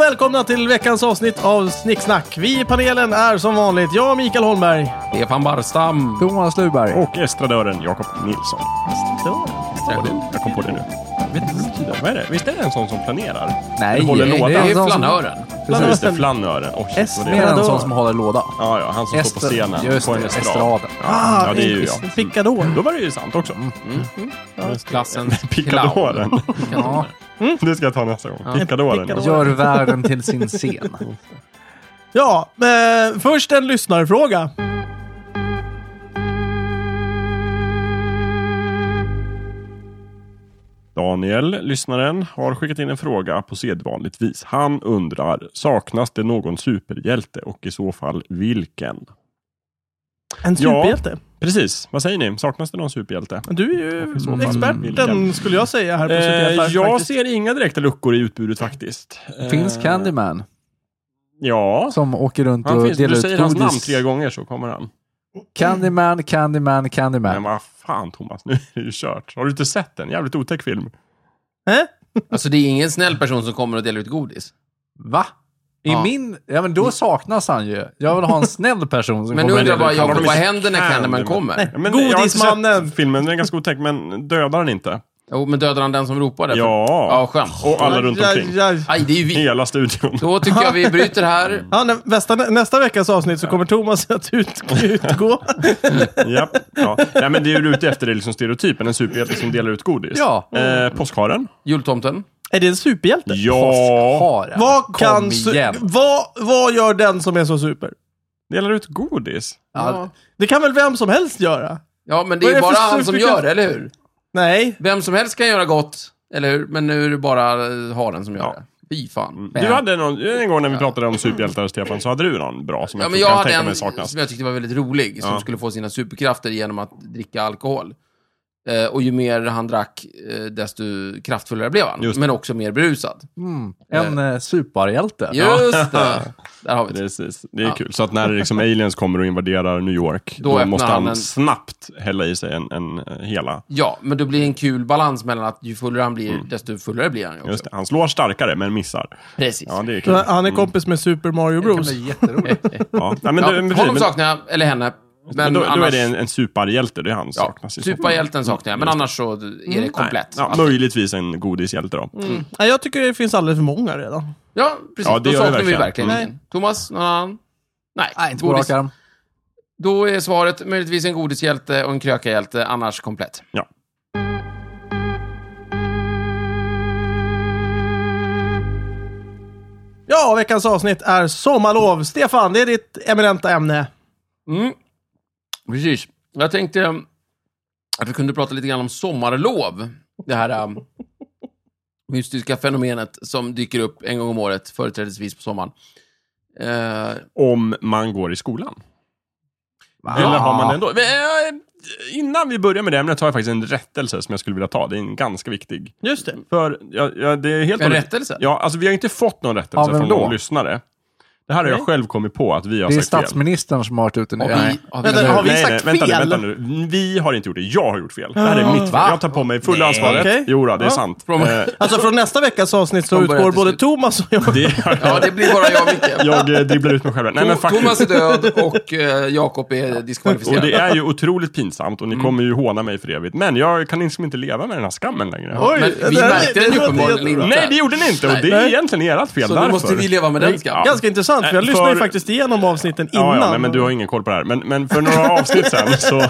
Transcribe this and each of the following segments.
välkomna till veckans avsnitt av Snicksnack. Vi i panelen är som vanligt jag, Mikael Holmberg. Stefan Barstam. Thomas Luberg. Och estradören Jakob Nilsson. Jag kom på det nu. Vet inte vad det betyder. Vad är det? Visst är det en sån som planerar? Nej, Eller håller det lådan. är Det är en sån som- flanören. Ja, just det. Flanören. Flanören. Oh, shit, S vad det mer är. en Estradör. sån som håller låda. Ja, ja, han som står på Ester- scenen. just på en det, estrad. estraden. Ja, ja, det är ju jag. Ah, Picador. Då var det ju sant också. Klassens Picadoren. Ja, Det ska jag ta nästa gång. Picadoren. Picador. gör världen till sin scen. Ja, eh, först en lyssnarfråga. Daniel, lyssnaren, har skickat in en fråga på sedvanligt vis. Han undrar, saknas det någon superhjälte och i så fall vilken? En Ja. superhjälte. Precis, vad säger ni? Saknas det någon superhjälte? Du är ju så fall experten vilken. skulle jag säga här på Eh, superhjältar. jag faktiskt. ser inga direkta luckor i utbudet faktiskt. Eh, Finns Candyman Ja, som åker runt han och finns. delar Du ut säger hans namn godis. tre gånger så kommer han. Candyman, Candyman, Men Candyman. vad fan Thomas, nu är det ju kört. Har du inte sett den? Jävligt otäck film. Eh? Alltså det är ingen snäll person som kommer och delar ut godis. Va? I Ja. min... Ja, men då saknas han ju. Jag vill ha en snäll person som Men nu kommer och undrar delar bara ut jag, de vad inte händer när Candyman? Candyman kommer? Ja, Men jag har inte Godismannen. sett filmen, den är ganska otäck, men dödar den inte? Jo, men dödar han den som ropade? Ja. Ja, skönt. Och alla runt omkring. Ja, ja, ja. Aj, det är ju vi. Hela studion. Då tycker jag vi bryter här. Ja, nä- nästa, nästa veckas avsnitt så kommer Thomas att ut, utgå. Japp. Ja. Nej, men det är ju ute efter det liksom stereotypen, en superhjälte som delar ut godis. Ja. Mm. Eh, påskharen? Jultomten. är det en superhjälte? Ja. Påskharen. Kom Vad, kan su- igen. vad, vad gör den som är så super? Delar ut godis? Ja, Det kan väl vem som helst göra? ja men det Vad är är det bara för han som superkraft? gör det, eller hur? Nej. Vem som helst kan göra gott, eller hur? Men nu är det bara eh, haren som gör Ja. det. Fy fan. Du hade någon, en gång när vi pratade om superhjältar, Stefan, så hade du någon bra som Ja, jag, men jag tror kan hade tänka en mig saknas. som jag tyckte var väldigt rolig, som Ja. skulle få sina superkrafter genom att dricka alkohol. Eh, och ju mer han drack, eh, desto kraftfullare blev han. Just det. Men också mer berusad. Mm, en eh, superhjälte. Just det! Där har vi det. Precis, det är Ja. kul. Så att när liksom aliens kommer och invaderar New York, Då då, öppnar måste han han, en- snabbt hälla i sig en, en eh, hela. Ja, men då blir det en kul balans mellan att ju fullare han blir, desto fullare blir han ju också. Mm. Just det. Han slår starkare, men missar. Precis. Ja, det är kul. Ja. Han är kompis med Super Mario Det kan Bros. bli jätteroligt. Nej, men, Ja, du- men, precis, honom men, saknar jag, eller henne. Men, men då, annars, då är det en, en superhjälte, det är han ja, saknas. i så fall. Superhjälten saknar jag, men annars så är Mm. det komplett. Ja, Alltså, Mm. möjligtvis en godishjälte då. Mm. Nej, jag tycker det finns alldeles för många redan. ja precis. Ja, det då gör det saknar vi verkligen. verkligen Mm. ingen. Thomas, någon annan? Nej, Nej, inte på godis. rak arm. Då är svaret möjligtvis en godishjälte och en krökahjälte, annars komplett. Ja. Ja, veckans avsnitt är sommarlov. Stefan, det är ditt eminenta ämne. Mm. Precis. Jag tänkte eh, att vi kunde prata lite grann om sommarlov. Det här eh, mystiska fenomenet som dyker upp en gång om året, företrädesvis på sommaren. Eh, Om man går i skolan. Eller Ja. har man det ändå? Men, eh, innan vi börjar med det ämnet har jag faktiskt en rättelse som jag skulle vilja ta. Det är en ganska viktig. Just det. För ja, ja, det är helt en och hållet- rättelse? Ja, alltså vi har inte fått någon rättelse Av vem från då? någon lyssnare. Det här har jag själv kommit på att vi har Det är sagt fel. statsministern som har varit ute nu. Har vi- Nej. har vi- Vänta, har vi nej, sagt nej, vänta, fel? Nu, vänta nu. Vi har inte gjort det. Jag har gjort fel. Det här är mitt fel. Va? Jag tar på mig fulla Nej. ansvaret. Okej. Jo, då, det är Ja. sant. Från- Eh, Alltså från nästa veckas avsnitt så Från början utgår till både slut. Thomas och jag. det, Ja, det blir bara jag och Micke. jag eh, dribblar ut mig själv. Nej, men faktiskt. Thomas är död och eh, Jakob är Och diskvalificerad. det är ju otroligt pinsamt och ni kommer ju håna mig för evigt. Men jag kan liksom inte leva med den här skammen längre. Oj, Men det vi här- märkte den ju låter uppenbarligen jättebra. inte. Nej, det gjorde ni inte och det är Nej. egentligen ert fel Så därför. nu måste vi leva med den skammen. Ganska intressant, för jag Nej, lyssnar ju för- faktiskt igenom avsnitten innan. Ja, ja, nej, men du har ingen koll på det här. Men, men för, några avsnitt sen så,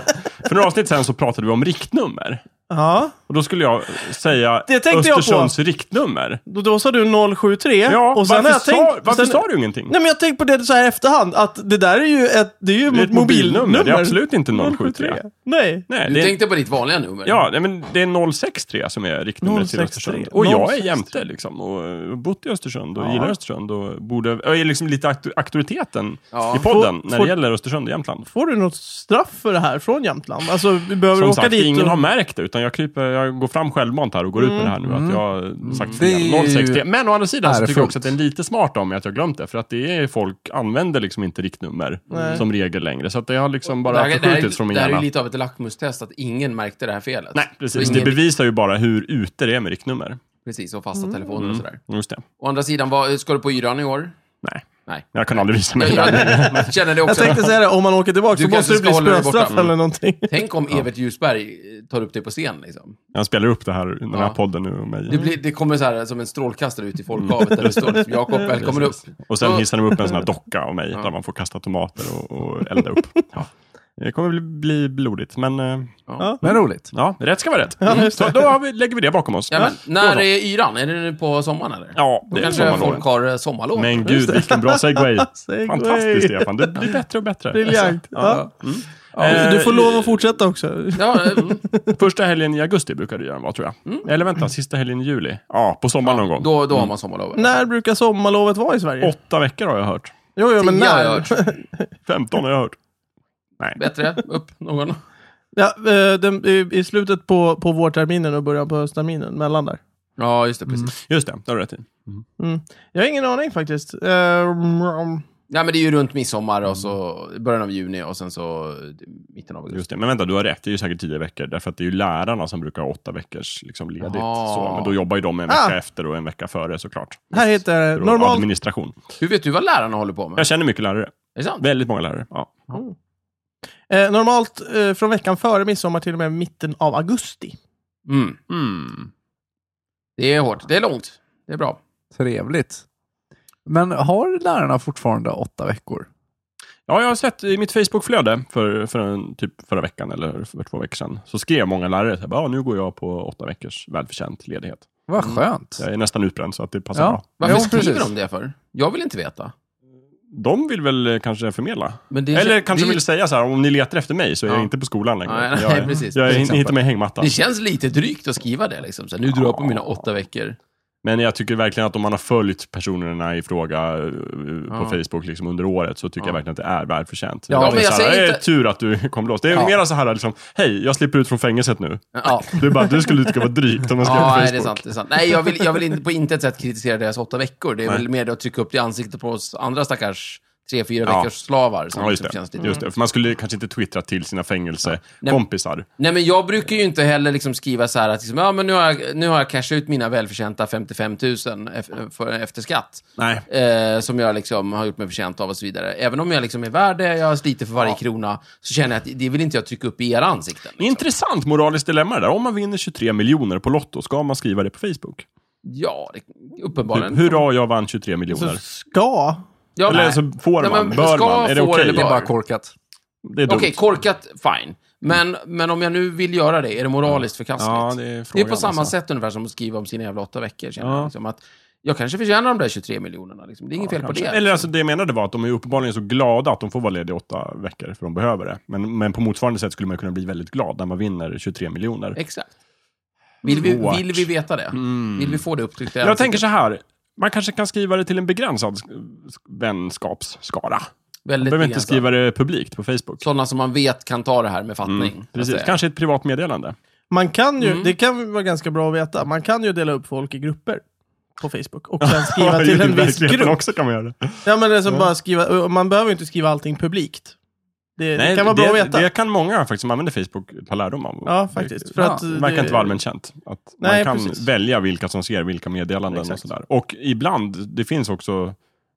för några avsnitt sen så pratade vi om riktnummer. Ja, Och då skulle jag säga Det tänkte jag på. Östersunds riktnummer. då, då sa du 073. Ja, och sen varför, har jag sa, tänkt, varför sen, sa du ingenting? Nej, men jag har tänkt på det så här i efterhand, att det där är ju ett, det är ju det är ett mobilnummer. Det är absolut inte 073. 073. Nej. Nej, Du det är, tänkte på ditt vanliga nummer. ja, nej, men det är 063 som är riktnumret till 063. Östersund. Och jag är 063. jämte liksom. Och har bott i Östersund och gillar Östersund. Och borde, jag är liksom lite auktor- auktoriteten Ja. i podden Får- när får- det gäller Östersund och Jämtland. Får du något straff för det här från Jämtland? Alltså, vi behöver Som åka sagt, dit ingen och... har märkt det, utan jag, kryper, jag går fram självmant här och går ut med det här nu, Mm. att jag har sagt Det är ju fel. 063. Men å andra sidan så tycker jag ärofullt. också att det är lite smart om mig att jag glömt det, för att det är folk använder liksom inte riktnummer Nej. som regel längre, så att det har liksom Det bara här, det här, förskjutits från är- min det här är hjärna. ju lite av ett lackmustest, att ingen märkte det här felet. Nej, Och precis. Det ingen- bevisar ju bara hur ute det är med riktnummer. Precis, och Mm. fasta telefoner Mm. och sådär. Just det. Å andra sidan, vad, ska du på yran i år? Nej. Nej. Jag kan aldrig visa mig. Jag känner det Jag också. tänkte säga det, om man åker tillbaka Du så kanske måste det ska bli hålla dig borta. spöstraff Mm. eller någonting. Tänk om Evert Ljusberg eh, tar upp dig på scen. Liksom. Jag spelar upp det här, den här Ja. podden nu och Det, mig. Mm. blir, det kommer så här, som en strålkastare ut i folkhavet där det står liksom, Jakob, välkommen upp. Och sen Så- hissar de upp en sån här docka av mig Ja. där man får kasta tomater och, och elda upp. Ja. Det kommer bli, bli blodigt, men eh, Ja. Men roligt. ja, rätt ska vara rätt. Ja, just Så då har vi, lägger vi det bakom oss. Ja, men, när då så. är yran? Är det nu på sommaren eller? ja Då det är kanske folk sommarlov. har eh, sommarlov. Men gud, vilken bra segway. Segway. Fantastiskt, Stefan. Du blir bättre och bättre. Briljant. Ja. Eh, Du får lov att fortsätta också. Ja, eh, mm. Första helgen i augusti brukar det göra vara, tror jag. Eller vänta, sista helgen i juli. Ja, på sommaren någon gång. då, då har man sommarlov. När brukar sommarlovet vara i Sverige? Åtta veckor har jag hört. Jo, jo, men Tio har när? jag hört. 15 har jag hört. Nej. Bättre, upp någon. Ja, eh, den, i- I slutet på, på vårterminen och början på höstterminen, mellan där. Ja, just det, precis. Just det, det har du rätt i. Mm. Jag har ingen aning faktiskt. Eh, mm, Ja, men det är ju runt midsommar Mm. och så början av juni och sen så eh, mitten av augusti. Just det. Men vänta, du har rätt. Det är ju säkert tio veckor. Därför att det är ju lärarna som brukar ha åtta veckors liksom, ledigt. Jaha. Så, men då jobbar ju de en vecka Ah. efter och en vecka före såklart. här heter det För att normalt. Administration. Hur vet du vad lärarna håller på med? Jag känner mycket lärare. Är det sant? Väldigt många lärare. Ja. Eh, normalt eh, från veckan före midsommar till och med mitten av augusti. Mm. Det är hårt. Det är långt. Det är bra. Trevligt. Men har lärarna fortfarande åtta veckor? Ja, jag har sett i mitt Facebook-flöde för, för en, typ förra veckan eller för två veckor sedan, så skrev många lärare så här, bara, "Ja, nu går jag på åtta veckors välförtjänt ledighet. Vad Mm. skönt. Jag är nästan utbränd så att det passar Ja. bra. Varför Jo, skriver precis. de det för? Jag vill inte veta. De vill väl eh, kanske förmedla? Men det, Eller kanske det, vill säga så här, om ni letar efter mig så är Ja. jag inte på skolan längre. Nej, nej, jag är, precis. jag Till är inte, exempel. inte med i hängmattan. det känns lite drygt att skriva det. Liksom. Så här, nu drar jag på mina åtta veckor. Men jag tycker verkligen att om man har följt personerna i fråga eh, på Ja. Facebook liksom under året så tycker Ja. jag verkligen att det är välförtjänt. Ja, Det är men jag så här, säger "Eh, inte- Tur att du kom loss. Det är Ja. mera så här, liksom, hej, jag slipper ut från fängelset nu. Ja, Du bara, du skulle tycka var drygt om man skrev på ja Facebook. nej, det är sant. Det är sant. Nej, jag vill, jag vill inte, på intet sätt kritisera deras åtta veckor. Det är Nej. väl mer att trycka upp det i ansiktet på oss andra stackars tre, fyra Ja. veckors slavar. Som Ja, just liksom det. känns lite just det. För man skulle kanske inte twittra till sina fängelsekompisar. Nej, men jag brukar ju inte heller liksom skriva så här att liksom, ja, men nu, har jag, nu har jag cashat ut mina välförtjänta 55 000 eff- för, efter skatt. Nej. Eh, som jag liksom har gjort mig förtjänt av och så vidare. Även om jag liksom är värd det, jag sliter för varje krona, så känner jag att det vill inte jag trycka upp i era ansikten. Liksom. Intressant moraliskt dilemma det där. Om man vinner 23 miljoner på Lotto, ska man skriva det på Facebook? Ja, det, Typ, uppenbarligen. hurra, jag vann 23 miljoner. Så ska. Ja, eller nej. så får Nej, man, men bör ska, man, är det får okej? eller Det är bör? bara korkat. Det är dumt. Okej, korkat, fine. Men, men om jag nu vill göra det, är det moraliskt förkastligt? Ja, det är Det är frågan, på samma alltså. sätt ungefär som att skriva om sina jävla åtta veckor. Känner jag, Ja. liksom, att jag kanske förtjänar de där 23 miljonerna. Liksom. Det är inget fel Kanske. på det. Eller alltså, det jag menade var att de är uppenbarligen så glada att de får vara lediga i åtta veckor, för de behöver det. Men, men på motsvarande sätt skulle man kunna bli väldigt glad när man vinner 23 miljoner. Exakt. Vill vi, Svårt. vill vi veta det? Vill vi få det upptryckt? i Mm. Jag ansiktet? tänker så här, man kanske kan skriva det till en begränsad sk- vänskapsskara. Man Väldigt behöver inte begränsat. skriva det publikt på Facebook. Sådana som man vet kan ta det här med fattning. så att Mm, Precis, säga. kanske ett privat meddelande. Man kan Mm. ju, det kan vara ganska bra att veta, man kan ju dela upp folk i grupper på Facebook och sen skriva Ja, till i en viss verkligheten grupp. också kan man göra det. Ja, men det är som bara skriva, man behöver ju inte skriva allting publikt. Det, det kan vara bra det, att veta. Det kan många faktiskt som använder Facebook ta lärdom av. Ja, faktiskt. För Ja, att, Det verkar inte vara allmänt känt. Att Nej, man kan precis. välja vilka som ser vilka meddelanden Exakt. och sådär. Och ibland, det finns också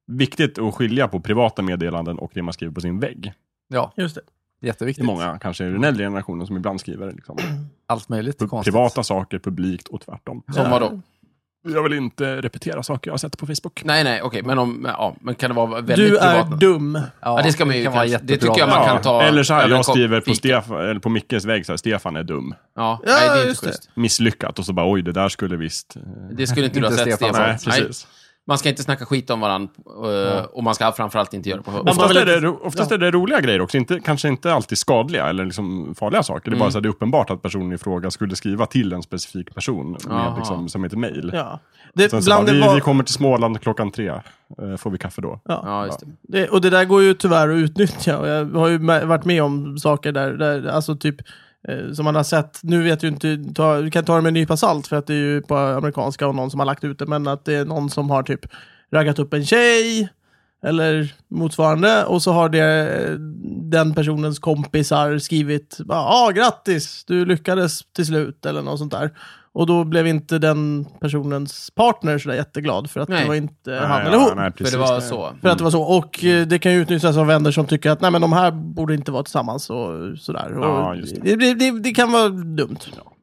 viktigt att skilja på privata meddelanden och det man skriver på sin vägg. Ja, Just det. Det är jätteviktigt. många, kanske i den äldre generationen, som ibland skriver liksom, Mm. Allt möjligt konstigt. privata saker publikt och tvärtom. Som vadå? Jag vill inte repetera saker jag har sett på Facebook. Nej, nej, okej. Men, om, ja, men kan det vara väldigt Du är privat? dum. Ja, det ska man ju kan vara kanske- det tycker jätteprivat. jag man kan ta- Eller så här, över en jag kopp skriver på, fika. Stefan, eller på Mickes vägg så här, Stefan är dum. Ja, Ja, nej, det är inte just det. schysst. Misslyckat och så bara oj, det där skulle visst... eh, Det skulle inte du ha Inte sett, Stefan. Stefan. Nej, precis. Man ska inte snacka skit om varandra och man ska framförallt inte göra det på hög. Oftast, vill är, det, ro- oftast är det roliga grejer också, inte, kanske inte alltid skadliga eller liksom farliga saker. Det är Mm. bara så att det är uppenbart att personen i fråga skulle skriva till en specifik person med, Aha. liksom, som ett mejl. Ja. Det, Sen så bara, bland det vi, var... vi kommer till Småland klockan tre, Eh, får vi kaffe då? ja. Ja, just det. det, och det där går ju tyvärr att utnyttja. Och jag har ju mä- varit med om saker där, där alltså typ eh, som man har sett, nu vet ju inte, ta, du kan ta det med en nypa salt för att det är ju på amerikanska och någon som har lagt ut det, men att det är någon som har typ raggat upp en tjej eller motsvarande och så har det, eh, den personens kompisar skrivit ja ah, grattis, du lyckades till slut eller något sånt där. Och då blev inte den personens partner sådär jätteglad för att Nej. det var inte Nej, han eller hon. ja, nej, För precis. det var så. För att det var så. Och eh, det kan ju utnyttjas av vänner som tycker att nej men de här borde inte vara tillsammans och sådär. Och Ja, just det. Det, det, det kan vara dumt.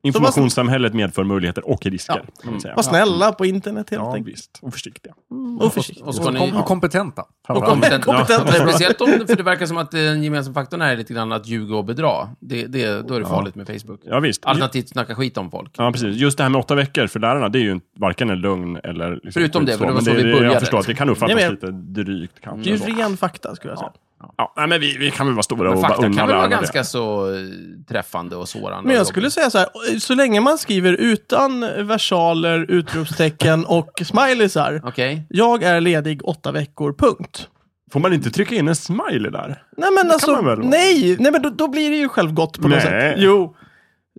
Informationssamhället medför möjligheter och risker. Ja. Mm. Kan man säga. Var snälla på internet helt Ja, enkelt. visst. Och försiktiga. Och försiktigt. Och så ska Och, ni... kom, och kompetenta. framförallt. Och kompetenta. Ja, speciellt om, för det verkar som att eh, den gemensamma faktorn här är lite grann att ljuga och bedra. Det, det, då är det farligt med Facebook. Ja, visst. Alternativt snacka skit om folk. Ja, precis. Just det här med åtta veckor för lärarna, det är ju en- varken en lögn eller... Liksom Förutom det, för det var men så vi det- började. Jag förstår att det kan uppfattas Nej, men- lite drygt kanske. Det är då. ju ren fakta skulle jag säga. Ja, nej, men vi, vi kan väl vara stora Men och bara fakta unna kan väl varandra vara det. ganska så eh, träffande och sårande. Men och jag jobbigt. skulle säga så här, eh, så länge man skriver utan versaler, utropstecken och smileysar. Okej. Jag är ledig åtta veckor, punkt. Får man inte trycka in en smiley där? Nej men alltså, man väl? nej, nej men då, då blir det ju självgott på något Nej. sätt. Jo.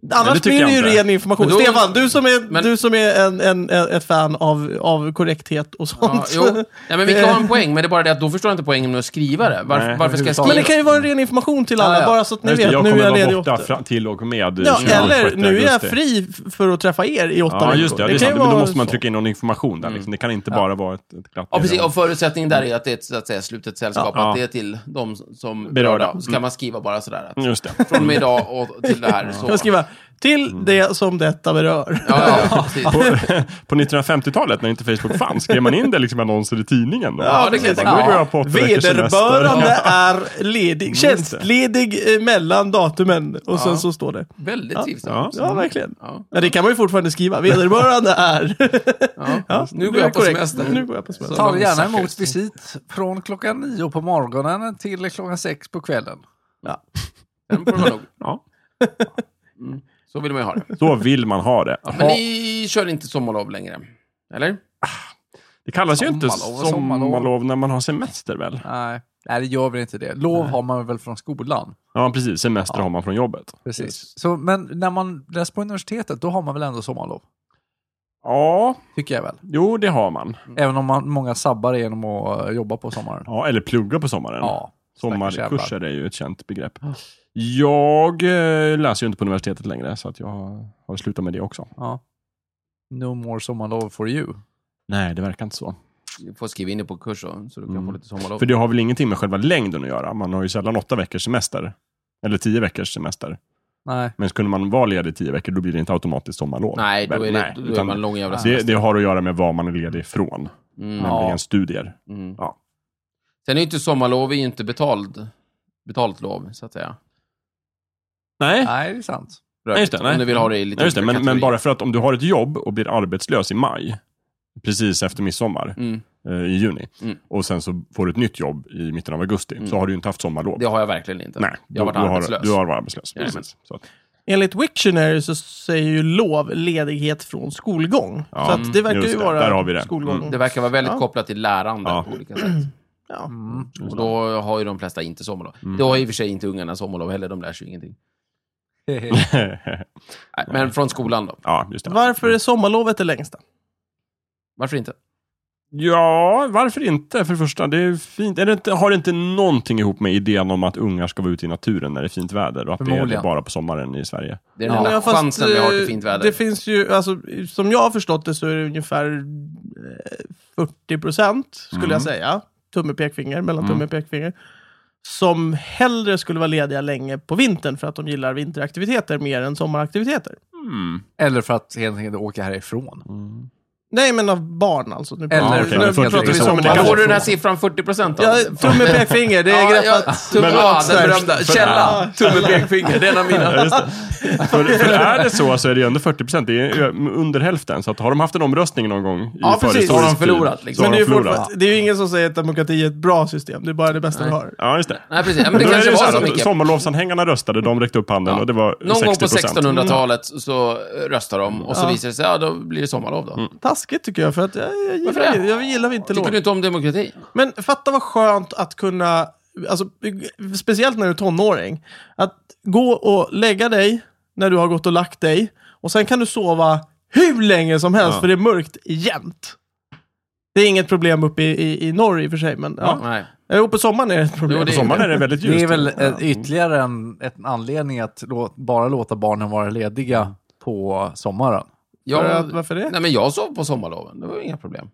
det Annars tycker blir det ju jag inte. ren information. Men då- Stefan, du som är, Men- du som är en, en, en, ett fan av, av korrekthet och Ja, sånt. jo. Nej, men vi kan ha en poäng, men det är bara det att då förstår jag inte poängen med att skriva det. Varför, Nej, varför ska jag skriva? men det kan ju vara en ren information till alla, Ja, ja. bara så att ni Just det, vet, jag nu är kommer jag vara ledig borta åtta. fram till och med Ja, 26 eller nu är jag augusti. fri f- för att träffa er i åtta Ja, veckor. just det. Ja, det, är kan ju sant. Men då vara måste man så. Mm. trycka in någon information där. Liksom. Det kan inte bara vara ett, ett glatt Ja, precis. meddelande. Och förutsättningen där är att det är ett, så att säga, slutet sällskap, Ja. att det är till de som Berörda. Mm. berörda. Ska man skriva bara sådär att Just det. från och med idag och till det här. Kan jag Så. skriva Mm. till det som detta berör. Ja, ja, precis. På, på 1950-talet när inte Facebook fanns, skrev man in det liksom i annonser i tidningen? Då? Ja, det kan jag Bara, tänka mig. Nu går jag på åtta veckors semester. Vederbörande är ledig, tjänstledig eh, mellan datumen och sen så står det. Väldigt trivsamt. Mm. Ja, verkligen. Ja. Men det kan man ju fortfarande skriva. Vederbörande är... Ja. Ja, Nu det går är jag på korrekt. semester. Nu går jag på semester. Så- Ta gärna Långsackare. emot visit från klockan nio på morgonen till klockan sex på kvällen. Ja. Den får man nog. Ja. Så vill man ju ha det. Så vill man ha det. Men Ha- ni kör inte sommarlov längre? Eller? Det kallas ju inte Sommarlov och sommarlov. sommarlov när man har semester väl? Nej, nej det gör väl inte det. Lov har man väl från skolan? Ja, precis. Semester har man från jobbet. Precis. Så, men när man läser på universitetet, då har man väl ändå sommarlov? Ja, Tycker jag väl. jo det har man. Även om man, många sabbar genom att eh, jobba på sommaren. Ja, eller plugga på sommaren. Ja. stackars Sommarkurser är ju ett känt begrepp. Jag eh, läser ju inte på universitetet längre, så att jag har slutat med det också. ja. No more sommarlov for you. Nej, det verkar inte så. Du får skriva in det på kurs då, så du kan Mm. få lite sommarlov. För det har väl ingenting med själva längden att göra. Man har ju sällan åtta veckors semester. Eller tio veckors semester. Nej. Men skulle man vara ledig i tio veckor, då blir det inte automatiskt sommarlov. Nej, då är, Väl, det, då är utan man lång jävla Nej. det, semester. det har att göra med vad man är ledig ifrån, Mm. nämligen studier. Mm. Ja. Sen är ju inte sommarlov är ju inte betald, betalt lov, så att säga. Nej, Nej, det är sant. Nej, just det, nej. Om du vill ha det i lite Nej, just det, olika men, men kategorier. bara för att om du har ett jobb och blir arbetslös i maj, precis efter midsommar, Mm, eh, i juni, Mm. och sen så får du ett nytt jobb i mitten av augusti, så har du ju inte haft sommarlov. det har jag verkligen inte. Nej, jag har du- varit du arbetslös. Du har varit arbetslös. Jajamän. Precis. Så att, Enligt Wiktionary så säger ju lov ledighet från skolgång. Ja, så att det verkar just ju det. vara Där har vi det. skolgång. Mm. Det verkar vara väldigt Ja. kopplat till lärande Ja. på olika sätt. Ja. Mm. Och då har ju de flesta inte sommarlov. Det har i och för sig inte ungarna sommarlov heller, de lär sig ju ingenting. Nej, men från skolan då? ja, just det. Varför är sommarlovet det längsta? Varför inte? Ja, varför inte? För det första, det är fint. Är det inte, har det inte någonting ihop med idén om att ungar ska vara ute i naturen när det är fint väder och att det är det Förmodligen. bara på sommaren i Sverige? Det är den Ja. enda Ja, fast, chansen vi har till eh, fint väder. Det finns ju, alltså, som jag har förstått det så är det ungefär eh, 40 procent, skulle Mm. jag säga, tumme och pekfinger, mellan tumme och pekfinger, som hellre skulle vara lediga länge på vintern för att de gillar vinteraktiviteter mer än sommaraktiviteter. Hmm. Eller för att helt enkelt åka härifrån. Nej, men av barn alltså. Nu pratar- Eller- nu okej, nu men 40 pratar vi procent. sommar. Det kan Där vara får du så. den här siffran 40 procent Ja, tumme och pekfinger, det är greppat. tumme, Men- ja, den Exakt. berömda. Källa, tumme, pekfinger. Det är en av mina. Ja, just det. För, för är det så, så är det ju ändå 40 procent. Det är ju under hälften. Så att har de haft en omröstning någon gång i Ja, precis. förhistorisk Har de tid, förlorat, liksom. så har Men det är, de ju förlorat. fortfarande- det är ju ingen som säger att demokrati är ett bra system, det är bara det bästa vi har. Ja, just det. Nej, precis. Ja, Men det Då är kanske ju var här så, att Micke. Sommarlovsanhängarna röstade, de räckte upp handen Ja. och det var Någon 60 gång på 1600-talet så röstar de och så Ja. visar det sig, ja då blir det sommarlov då. Taskigt tycker jag, för att jag, jag, Varför gillar, det? jag gillar vinterlov. Tycker du inte om demokrati? Men fatta vad skönt att kunna, alltså, speciellt när du är tonåring, att gå och lägga dig när du har gått och lagt dig och sen kan du sova hur länge som helst Ja. för det är mörkt jämt. Det är inget problem uppe i, i, i norr i och för sig, men ja. Nej. Jo, på sommaren är det ett problem. Jo, På det- sommaren är Mm. det väldigt ljust. Det är väl Ja. eh, ytterligare en, en anledning att lå- bara låta barnen vara lediga på sommaren. För Jag, att, varför det? nej, men jag sov på sommarloven. Det var inga problem.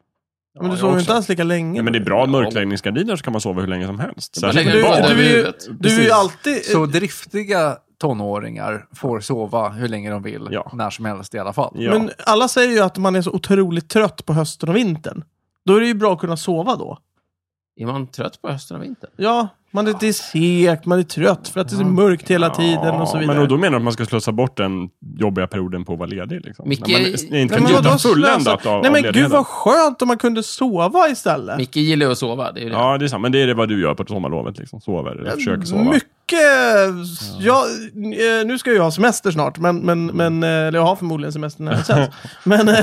men du jag sov ju också. inte alls lika länge. Ja, men det är bra Ja. mörkläggningsgardiner så kan man sova hur länge som helst. Man Särskilt lägger du- en barn. bra du- över huvudet. du är ju Precis. alltid... Så driftiga tonåringar får sova hur länge de vill, Ja. när som helst i alla fall. Ja. Men alla säger ju att man är så otroligt trött på hösten och vintern. Då är det ju bra att kunna sova då. Är man trött på hösten och vintern? Ja, man är, det är segt, man är trött för att det är så mörkt hela tiden och så vidare. Mm. Men och då menar du att man ska slösa bort den jobbiga perioden på att vara ledig? Liksom. Micke- När man är inte Nej, men vadå njuta fulländat slösa? av, Nej av men gud ledigheten. vad skönt om man kunde sova istället. Micke gillar ju att sova. Det är ju det. Ja, det är sant. Men det är det vad du gör på sommarlovet. Liksom. Sover, eller försöker sova. Mycket... Ja, eh, nu ska jag ju ha semester snart, men, men, men, eh, eller jag har förmodligen semester när det sänds. men, eh,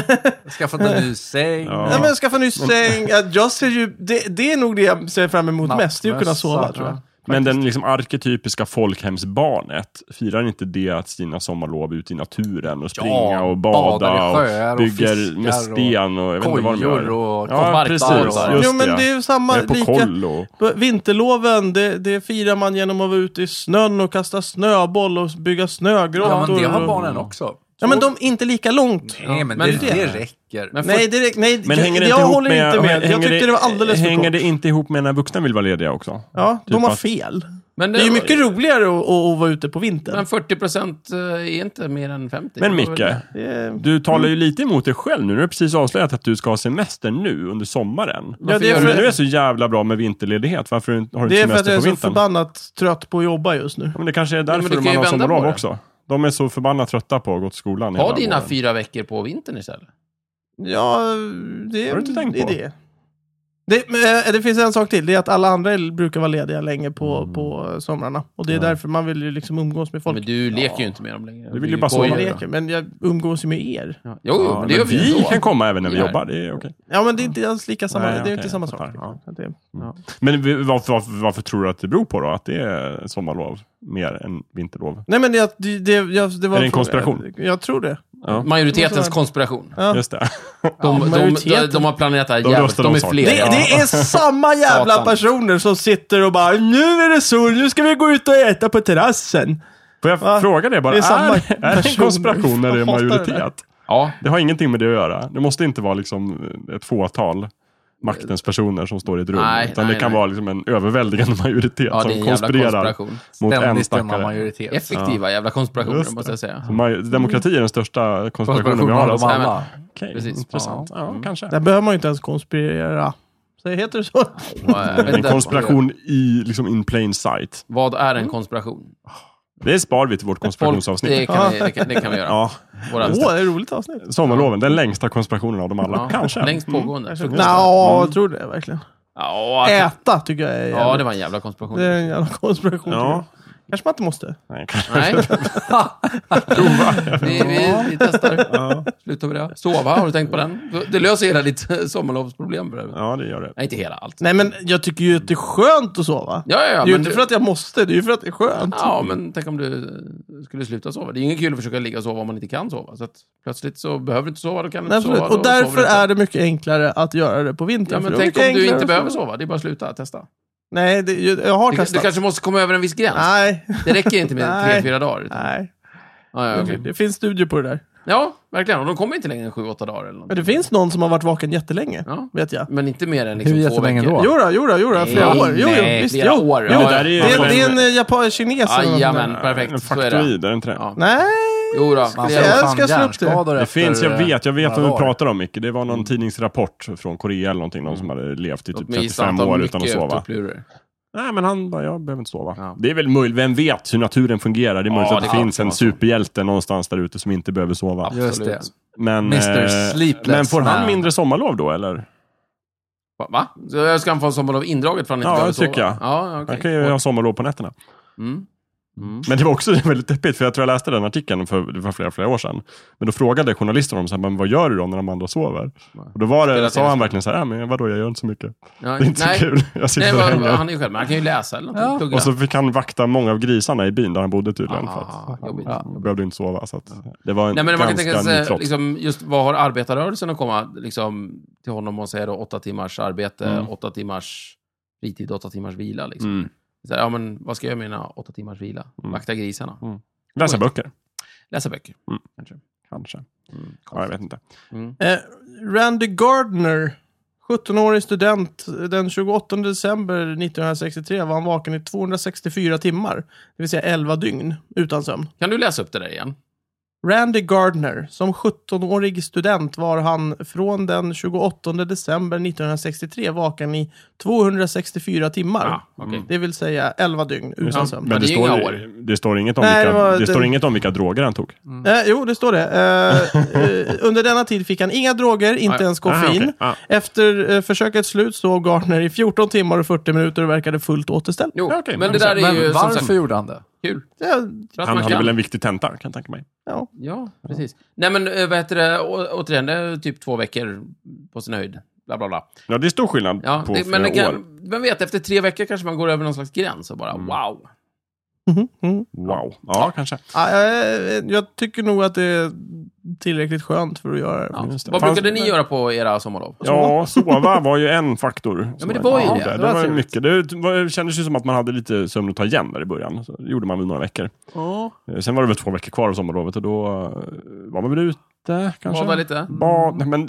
Skaffa en ny säng. Ja. nej, men skaffa en ny säng. Eh, Jag ser ju, det, det är nog det jag ser fram emot mest, det är att kunna sova Nattmössa, tror jag. Men den liksom arketypiska folkhemsbarnet, firar inte det att sina sommarlov ute i naturen och springa och bada badar i sjöar och och bygger fiskar med sten och jag vet inte vad de kojor gör. och ja, markbadar. precis. Jo, Just jo men det är ju samma, är på lika, koll och... vinterloven, det, det firar man genom att vara ute i snön och kasta snöboll och bygga snögrottor. Ja, men det har och- barnen också. Ja men de är inte lika långt. Nej, men, Men det, det- det räcker. Men Nej, det, nej Men jag- hänger det jag inte ihop håller med, inte med. hänger Jag tyckte det var alldeles för Hänger kort. det inte ihop med när vuxna vill vara lediga också? Ja, Typ de har att- fel. Men, Det är ju mycket roligare att, att, att vara ute på vintern. Men 40 procent eh, är inte mer än 50. Men Micke, Det är- du talar ju lite emot dig själv nu. Du har precis avslöjat att du ska ha semester nu under sommaren. Ja, det är Om för- det nu är så jävla bra med vinterledighet, varför har du inte Det är för att jag semester är på så vintern? förbannat trött på att jobba just nu. Ja, men det kanske är men därför du kan man ju har vända på sommarlov det. också. De är så förbannat trötta på att gå till skolan Ha hela dina våren. fyra veckor på vintern istället. Ja, det är Har du inte tänkt det. är på? det. Det, men, eh, det finns en sak till, det är att alla andra brukar vara lediga länge på, Mm. på eh, somrarna. Och det är därför man vill ju liksom umgås med folk. Men du leker Ja. ju inte med dem längre. Du vill ju bara Jag kojar. sova. leker, men jag umgås ju med er. Ja. Jo, jo, Ja, men det men gör vi vi ändå. kan komma även när vi Ja. jobbar, det är okej. Ja, men det är inte alls lika samma, Nej, det är okej, inte jag samma sak. fattar. Ja. Så att det- Men vi- varför, varför, varför tror du att det beror på då? Att det är sommarlov mer än vinterlov? Nej, men det, det, det, jag, det var Är det en fråga- konspiration? Jag, tror det. Majoritetens konspiration. Ja. Just det. De, de, de, majoriteten. de har planerat det här De jävligt. röstar De om är saker. fler. Det, det är samma jävla Satan. personer som sitter och bara Nu är det sol, nu ska vi gå ut och äta på terrassen. Får jag Va? fråga det bara? Det är är, samma är, det en personer. konspiration när det är Jag hatar det där. majoritet? Ja. Det har ingenting med det att göra. Det måste inte vara liksom ett fåtal maktens personer som står i ett rum. Nej, utan nej, det kan nej. vara liksom en överväldigande majoritet ja, det är som en jävla konspirerar konspiration. mot en Ständigt denna stackare. majoritet. Effektiva jävla konspirationer, Just det. måste jag säga. Så maj- Demokrati är den största konspirationen vi har. Mm. av Alltså. Nej, men- alla. Okej, Precis. intressant. Ja, kanske. Där behöver man ju inte ens konspirera. Så heter det så? Ja, jag eh, vet En inte. konspiration i, liksom in plain sight. Vad är en Mm. konspiration? Det spar vi till vårt Folk, det, konspirationsavsnitt. kan vi, det, kan, det kan vi göra. Ja, Våra, Åh, det är ett roligt avsnitt. sommarloven, den längsta konspirationen av dem alla. ja, Kanske. Mm. Längst pågående. Nå, Fruktansvärt. jag tror det verkligen. Ja, att- Äta tycker jag är ja, det jävligt. var en jävla konspiration. det är en jävla konspiration. tycker Ja. jag. Kanske man inte måste. Nej, kanske. Nej. vi, vi, vi testar. Sluta med det. Sova, har du tänkt på den? Det löser hela ditt sommarlovsproblem för övrigt. Ja, det gör det. Nej, inte hela allt. Nej, men jag tycker ju att det är skönt att sova. Ja, ja, det ja, är ju men inte du- för att jag måste, det är ju för att det är skönt. Ja, men tänk om du eh, skulle sluta sova. Det är ju inget kul att försöka ligga och sova om man inte kan sova. Så att plötsligt så behöver du inte sova, då kan du Nej, inte absolut. sova. och därför är det mycket enklare att göra det på vintern. Ja, för men då är tänk om det mycket du enklare inte att behöver sova. Det är bara att sluta testa. Nej, det, jag har Du, testat. du kanske måste komma över en viss gräns. Nej, Det räcker inte med Nej. tre, fyra dagar. utan- nej. Ja, ja, okej. Det finns studier på det där. ja, verkligen. Och de kommer inte längre än sju, åtta dagar. Eller Men någonting. det finns någon som har varit vaken jättelänge, Ja. vet jag. Men inte mer än liksom Hur två jättelänge veckor. då? Jodå, jodå, jodå, flera Nej, år. Jo, jo, nej, visst, flera jo. år. Jo, Ja, det där är ju- Det, Men- det är en eh, japan, kines eller något sånt där. Jajamän, En perfekt. Så är det. faktoid, är det inte det? Ja. Nej, Jo då, Man se. flera- Jag får fan ska slå upp det. hjärnskador Det efter, finns, jag eh, vet, jag vet några vad du dagar. pratar om Micke. Det var någon Mm. tidningsrapport från Korea eller någonting. Någon som hade levt i Låt typ mig gissa 35 att de har år utan att mycket typ. sova. tuplurer. Nej, men han bara, jag behöver inte sova. Ja. Det är väl möjligt, vem vet hur naturen fungerar? Det är Ja, möjligt det att det kan finns vara en så. superhjälte någonstans där ute som inte behöver sova. Just det. Absolut. Men, Mr. Sleepless men får han Man. mindre sommarlov då, eller? Va- Va? Så jag ska han få sommarlov indraget för han inte Ja, behöver det tycker sova? jag. Ja, Han okej. kan ju ha sommarlov på nätterna. Mm. Mm. Men det var också väldigt deppigt, för jag tror jag läste den artikeln för, det var flera, flera år sedan. Men då frågade journalisten honom, så här, men vad gör du då när de andra sover? Och då var Spelar det, sa han tennis. verkligen så här, "Ja, men vadå, jag gör inte så mycket. Ja, Det är inte nej. så kul. Jag Nej, sitter och vad- hänger. han är ju själv, men han kan ju läsa eller någonting. Ja. Plugga. Och så fick han vakta många av grisarna i byn där han bodde tydligen. Ah, för att han jobbigt. ja, behövde inte sova. Så att det var en Nej, men man kan tänka ganska ny sig, trots. liksom, just vad har arbetarrörelsen att komma liksom, till honom och säga då åtta timmars arbete, Mm. åtta timmars fritid, åtta timmars vila. Liksom. Mm. Så här, ja, men, vad ska jag göra med mina åtta timmars vila? Mm. Vakta grisarna, Läsa böcker, läsa böcker. kanske. Mm, Ja, jag vet inte. Eh, Randy Gardner, 17-årig student. Den 28 december 1963 var han vaken i 264 timmar, det vill säga 11 dygn, utan sömn. Kan du läsa upp det där igen? Randy Gardner, som 17-årig student var han från den 28 december 1963 vaken i 264 timmar. Mm. Ja, Ah, okej. Det vill säga 11 dygn utan sömn. Men det, det är inga står, år. det, står inget om Nej, vilka, det var- det står det- inget om vilka droger han tog. Eh, jo, det står det. Eh, eh, under denna tid fick han inga droger, inte Ah, ja. ens Ah, koffein. okej. Ah. Efter eh, försökets slut sov Gardner i 14 timmar och 40 minuter och verkade fullt återställd. Jo, Ja, okej, men det men där är Men ju som varför sagt gjorde han det? kul. Ja, För att Han man hade kan. väl en viktig tenta, kan jag tänka mig. ja. Ja, precis. Nej, men eh, vad heter det? Å, återigen, det är typ två veckor på sin höjd. Bla, bla, bla. Ja, det är stor skillnad Ja, på det, flera men det år. Mm. kan, vem vet, efter tre veckor kanske man går över någon slags gräns och bara wow. Mhm, mm. Wow. Ja, kanske. Ah, eh, jag tycker nog att det är tillräckligt skönt för att göra det. Ja. Just det. Vad Fanns- brukade ni göra på era sommarlov? Ja, sova var ju en faktor. men det var ju det. Det, Det var var ju trevligt. mycket. Det var- det kändes ju som att man hade lite sömn att ta igen där i början. Så det gjorde man väl några veckor. Ja. Eh, Sen var det väl två veckor kvar av sommarlovet och då eh, var man väl ute kanske? Bada lite? Bad, nej, men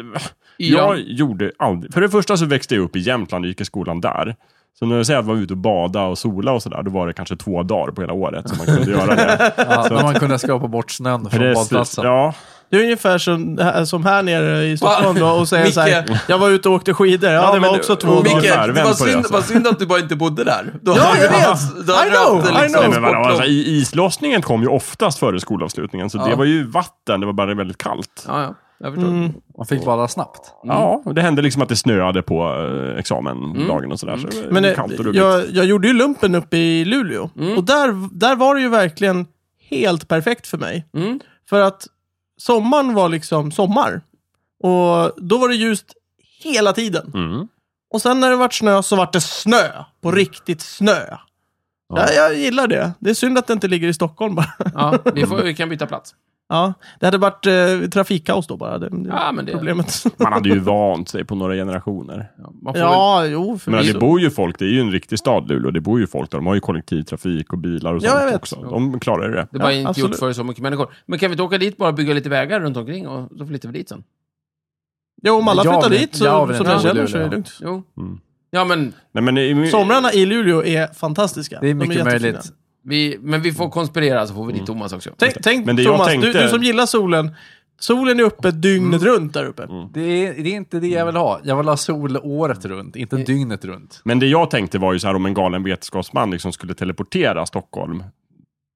jag Yran? gjorde aldrig... För det första så växte jag upp i Jämtland och gick i skolan där. Så när jag säger att man var ute och bada och sola och sådär, då var det kanske två dagar på hela året som man kunde göra det. Ja, när man kunde skrapa bort snön från Precis. badplatsen. Ja, Det är ungefär som, här- som här nere i Stockholm då, och säger Micke. så här, jag var ute och åkte skidor. Ja, det var men- också två och dagar. Micke, ungefär. Vänd på det, alltså. synd att du bara inte bodde där. Då Ja, jag du vet. haft- då I hade du know, haft det liksom I know. Nej, men vadå, sportlov. alltså, i- islossningen kom ju oftast före skolavslutningen, så Ja. det var ju vatten, det var bara väldigt kallt. Ja, ja. Jag förstår. Mm. Man fick bada snabbt. Ja, och det hände liksom att det snöade på eh, examendagen och sådär. Så det var Men eh, kallt och ruggigt. jag, jag gjorde ju lumpen uppe i Luleå. Och där, där var det ju verkligen helt perfekt för mig. Mm. För att sommaren var liksom sommar. Och då var det ljust hela tiden. Mm. Och sen när det vart snö så vart det snö. På Mm. riktigt snö. Ja, jag gillar det. Det är synd att det inte ligger i Stockholm bara. Ja, vi, får, vi kan byta plats. Ja, det hade varit eh, trafikkaos då bara. Det, det Ja, men det- problemet. Man hade ju vant sig på några generationer. Ja, man får väl- Ja, jo. För Men mig det så. bor ju folk, det är ju en riktig stad Luleå, det bor ju folk där. De har ju kollektivtrafik och bilar och Ja, jag sånt vet. också. De klarar ju det. Det var Ja, inte absolut. gjort för så mycket människor. Men kan vi inte åka dit bara och bygga lite vägar runt omkring och så flyttar vi dit sen? Jo, om alla Jag flyttar vill- dit så, jag vill som inte jag bo känner i så är Luleå. det lugnt. Jo. Mm. Ja, men Nej, men, i- Somrarna i Luleå är fantastiska. Det är De mycket jättefina. möjligt. vi, men vi får Mm. konspirera så får vi dit Thomas också. Tänk, tänk Men det jag Thomas, tänkte- du, du som gillar solen. Solen är uppe dygnet Mm. runt där uppe. Det är, det är inte det jag vill ha. Jag vill ha sol året runt, inte Mm. dygnet runt. men det jag tänkte var ju så här om en galen vetenskapsman liksom skulle teleportera Stockholm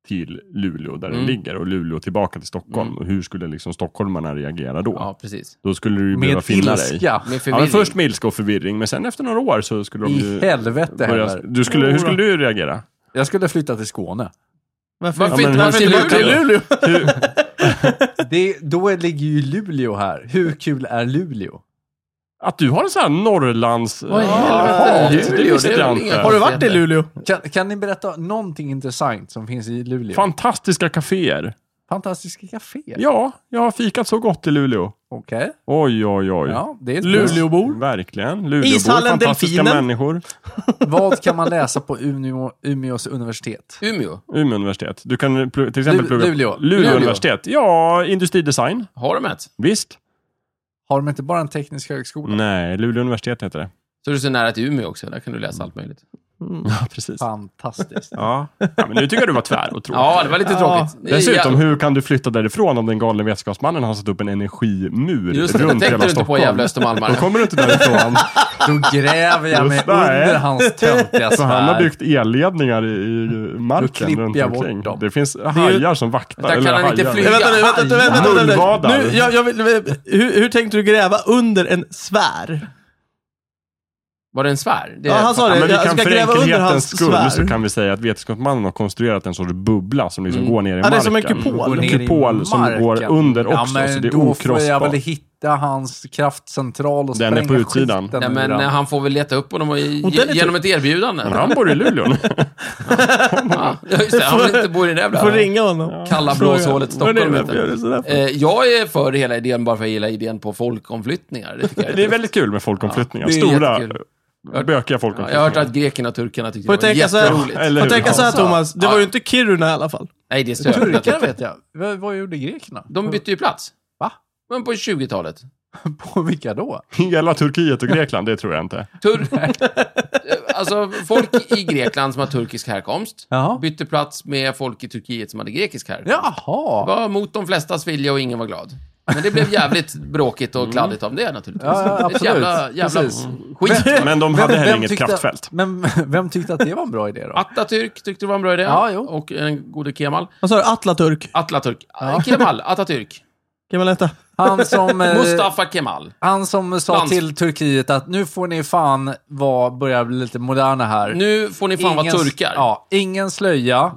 till Luleå där Mm. den ligger och Luleå tillbaka till Stockholm. Och hur skulle liksom stockholmarna reagera då? Ja, precis. Då skulle du ju behöva Med finna dig. ilska. Med Ja, förvirring. men först med ilska och förvirring, men sen efter några år så skulle de ju... I helvete börja, heller. du skulle, Hur skulle du reagera? Jag skulle flytta till Skåne. Varför, Varför varför inte- varför inte Luleå? Luleå? Luleå? Hur, Det, då ligger ju Luleå här. Hur kul är Luleå? att du har en sån här Norrlands... Ah, Vad i helvete? hat, det Luleå, visste det är jag väl inte. inga- Har du varit i Luleå? Kan, kan ni berätta någonting intressant som finns i Luleå? Fantastiska kaféer. Fantastiska kaféer. Ja, jag har fikat så gott i Luleå. Okej. Oj, oj, oj. Ja, det är ett Luleåbor? Verkligen. Luleåbor, Ishallen, fantastiska Delfinen. människor. Vad kan man läsa på Umeå, Umeås universitet? Umeå. Umeå universitet. Du kan plu- till exempel Lu- plugga... Luleå. Luleå Luleå. universitet. Ja, industridesign. Har de ett? Visst. Har de inte bara en teknisk högskola? Nej, Luleå universitet heter det. Så är du så nära till Umeå också. Där kan du Mm. läsa allt möjligt. Ja, precis. Fantastiskt. Ja. ja, men nu tycker jag du var tvär och tråkig. Ja, det var lite tråkigt. Det är Dessutom, jä- hur kan du flytta därifrån om den galne vetenskapsmannen har satt upp en energimur Just det, runt tänkte hela du inte på Stockholm? jävla Då östermalmare. kommer du inte därifrån. Då gräver jag mig Just det. under hans töntiga Så han har sfär. byggt elledningar i i marken klipper runt jag bort omkring. dem. Det finns hajar som vaktar. Där kan eller han inte hajar. flyga. Nej, vänta nu, vänta, vänta, vänta, vänta, vänta. Mullvadar. Nu, jag, jag vill, hur, hur tänkte du gräva under en sfär? Var det en sfär? Det Ja, han sa Ja, det. men vi Jag kan ska för gräva under enkelhetens hans skull svärd. så kan vi säga att vetenskapsmannen har konstruerat en sorts bubbla som Mm. liksom går ner Ja, i marken. det är som en kupol. Går ner i kupol som marken. går under också, men så det är då får jag okrossbart. väl hitta hans kraftcentral och Den är spränga på utsidan. skiten Nej, men ur eh, den. han får väl leta upp honom och i, Och den är genom ett erbjudande. Men han bor i Luleå nu. Ja, just det. Han vill inte bo i den Du får jävla... ringa honom. Kalla Fråga. blåshålet Stockholm, Vad är det vet du. varför gör du sådär för? Eh, Jag är för hela idén bara för att jag gillar idén på folkomflyttningar. Det, tycker jag Det är tufft. väldigt kul med folkomflyttningar. Ja, det är Stora, jättekul. bökiga Ja, jag har hört folkomflyttningar. att grekerna och turkarna tyckte Får jag det var tänka så jätteroligt. här, Eller får hur? tänka så här Ja. Thomas, det Ja. var ju inte Kiruna i alla fall. Nej, det är störigt. Turkarna vet jag. Vad, vad gjorde grekerna? De bytte ju plats. Va? Men på 20-talet. På vilka då? Hela Turkiet och Grekland, det tror jag inte. Tur... alltså, folk i Grekland som har turkisk härkomst Jaha. bytte plats med folk i Turkiet som hade grekisk härkomst. Det Jaha. var mot de flestas vilja och ingen var glad. Men det blev jävligt bråkigt och kladdigt av det naturligtvis. Mm. Ja, ja, Ett absolut. jävla, jävla Precis. skit. Men de hade Vem- heller vem inget tyckte- kraftfält. Men vem tyckte att det var en bra idé då? Atatürk tyckte det var en bra idé. Ja, jo. Och en gode Kemal. Vad sa du? Atlaturk? Atlaturk. Eh, Kemal. Atatürk. Kan man lätta? Han som, eh, Mustafa Kemal. han som sa Lands- till Turkiet att nu får ni fan vara, börja bli lite moderna här. Nu får ni fan vara Ingen- turkar. Ja, ingen slöja.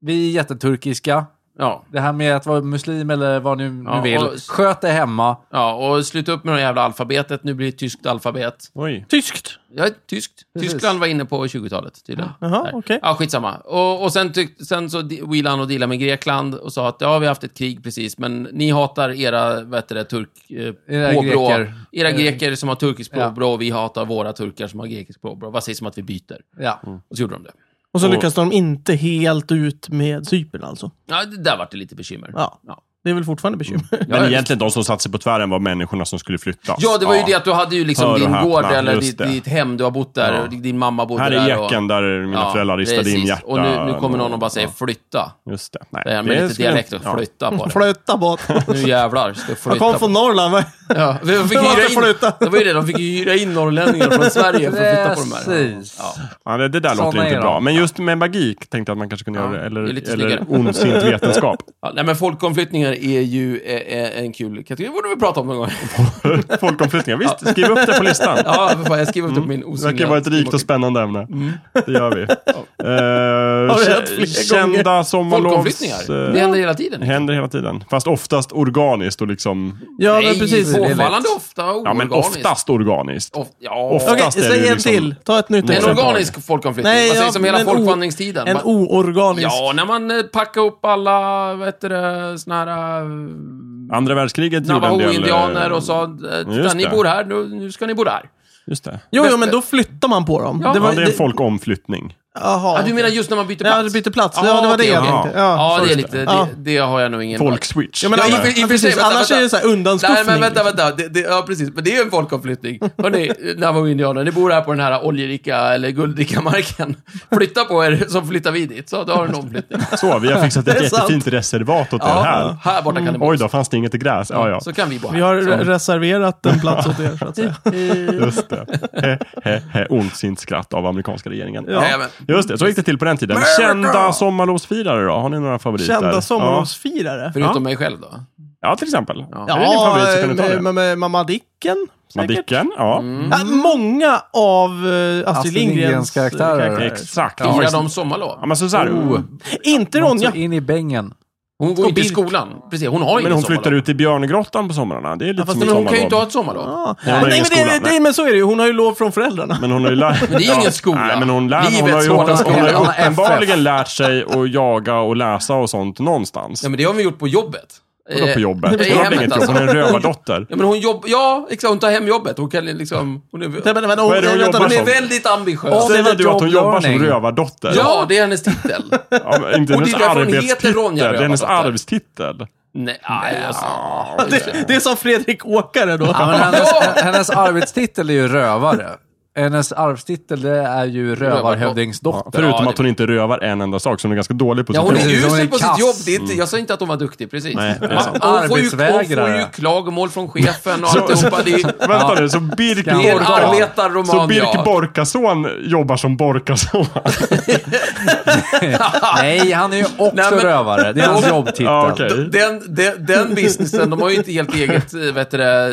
Vi är jätteturkiska. Ja. Det här med att vara muslim eller vad nu, Ja, nu vill. och- Sköt det hemma. Ja, och sluta upp med det jävla alfabetet. Nu blir det tyskt alfabet. Oj. Tyskt? Ja, tyskt. Precis. Tyskland var inne på 20-talet tydligen. Jaha, Där. okej. Ja, skitsamma. Och, och sen, tyck, sen så di- wheelade han och dealade med Grekland och sa att ja, vi har haft ett krig precis, men ni hatar era, vad heter det, turk... Eh, Era påbrå. greker. Era Eh, greker som har turkiskt ja. påbrå och vi hatar våra turkar som har grekiskt påbrå. Vad sägs om att vi byter? Ja. Och så gjorde de det. Och så Och- lyckas de inte helt ut med Cypern alltså. Ja, det där vart det lite bekymmer. Ja. Ja. Det är väl fortfarande bekymmer. Men Ja, egentligen de som satte sig på tvären var människorna som skulle flyttas. Ja, det var ju det att du hade ju Hör liksom och din häpna, gård eller just ditt, det. ditt hem, du har bott där, Ja. och din mamma bodde Här där. är och- jeckan där mina Ja, föräldrar ristade in precis. hjärta. Och nu, nu kommer någon och bara säger flytta. Just det. Nej, Det här med lite skulle jag- dialekt och Ja. flytta på det. Flöta bort. Nu jävlar ska jag Mm. Jag flytta kom på från Norrland. va? Ja, vi fick De har inte hyra in, flyttat. det var ju det, de fick ju hyra in norrlänningar från Sverige för att flytta på de här. Precis. Ja. Ja, det, det där Såna låter är inte de. bra. Men just med magik tänkte jag att man kanske kunde Ja, göra det. Eller, det är lite eller snyggare. ondsint vetenskap. Ja, nej, men folkomflyttningar är ju eh, eh, en kul kategori. Det borde vi prata om någon gång. Folkomflyttningar. Visst, skriv upp det på listan. Ja, för fan, jag skriver upp det på min Det osynliga... verkar vara ett rikt och spännande ämne. Det gör vi. Har det Eh, hänt fler kända sommarlovs... Folkomflyttningar, det eh, händer hela tiden. händer hela tiden. Fast oftast organiskt och liksom... Ja, men Nej, precis. det är lätt. Påfallande ofta Ja, men oorganiskt. oftast organiskt. Of, ja. Ofta. Okej, Oftast är det säg ju en liksom- till. Ta ett nytt En exempel. organisk folkomflyttning. Nej, Vad ja, sägs om hela men o- folkvandringstiden? En Va- oorganisk. Ja, när man eh, packar upp alla, vad heter det, såna här... eh, Andra världskriget gjorde en del... eh, Navajo-indianer och sa, eh, titta, just ni det. bor här, nu, nu ska ni bo där. eh, Just det. Jo, jo, men då flyttar man på dem. Ja. Ja, det är en folkomflyttning. Jaha. Ja, du menar just när man byter plats? Ja, du byter plats. Ja, det var det okej, jag okej. tänkte. Ja, Ja, det just är lite, Ja. det, det har jag nog ingen... Folkswitch. Ja, men Ja, alla, i och för- i och för precis. sig, vänta, annars vänta. är det så här Nej, undanskuffning. liksom. men vänta, vänta. Det, det, ja, precis. Men det är ju en folkomflyttning. Hörni, Navajo-indianer, ni bor här på den här oljerika eller guldrika marken. Flytta på er, så flyttar vi dit. Så då har du en omflyttning. Så, vi har fixat Det ett är sant. jättefint reservat åt er Ja, här. här borta kan ni bo. Oj då, fanns det inget gräs? Ja, ja. Så kan vi bo Vi här. har re- reserverat en plats åt er, så att säga. Just det. He, he, he. Ondsint skratt av amerikanska regeringen. Jajamän. Just det, så gick det till på den tiden. Kända sommarlovsfirare då? Har ni några favoriter? Kända sommarlovsfirare. Förutom Ja. mig själv då. Ja, ja till exempel. Ja. Ja. Är det din favorit så kan du ta med, det. med, med Mamma Dicken. säkert. Madicken, ja. Mm. Mm. Ja, många av eh, Astrid Astrid Lindgrens Lindgrens karaktärer. karaktärer. Exakt. Ja, Fira faktiskt. dem Ja, sommarlov. men så, så här, Oh. Inte Ronja. Så in i bängen. Hon går ju inte i Birk. skolan. Precis, hon har ju Men hon inget flyttar sommarlov. ut till Björngrottan på somrarna. Det är lite fast som Men ett hon kan ju inte ha sommarlov. ett sommarlov. Ja. har Nej, ingen men, det, skola, det, nej. men så är det ju. Hon har ju lov från föräldrarna. Men hon har ju lärt... Men det är ingen skola. Nej, men hon, lär, hon har Livets ju hårda hon har ju skola. uppenbarligen lärt sig att jaga och läsa och sånt någonstans. Ja, men det har vi gjort på jobbet. Hon är på jobbet. Eh, i Hon har väl hemmet, inget jobb, alltså. hon är en rövardotter. Ja, men hon jobb... Ja, exakt. Hon tar hem jobbet. Hon kan liksom... Hon är, Nej, men, men, hon, Vad är det hon vänta, jobbar hon är som? väldigt ambitiös. Ja, det är Säger väl du att hon jobbar som jobblearning. rövardotter? Ja, det är hennes titel. Ja, men inte Och det hennes är därför hon heter arbetstitel. Det Ronja är hennes Rövardotter. arvstitel. Nej, nej, alltså. det, det är som Fredrik Åkare då. Ja, men hennes, hennes arbetstitel är ju rövare. Hennes arvstitel det är ju rövarhövdingsdotter. Förutom det- att hon inte rövar en enda sak, så hon är ganska dålig på Ja, sitt hon är jobb. Precis, hon usel är på sitt kass. jobb. Det är inte, jag sa inte att hon var duktig, precis. Nej, det är Man- sant. hon, får ju, hon får ju Arbetsvägrare. klagomål från chefen och Så- alltihopa. Det är, Vänta nu, så Birk det är en Borka... arbetarroman, Så Birk ja. Borkason jobbar som Borkason? Nej, han är ju också Nej, men- rövare. Det är hans jobbtitel. Ja, okej. Den, den, den businessen, de har ju inte helt eget, eh, vet du det,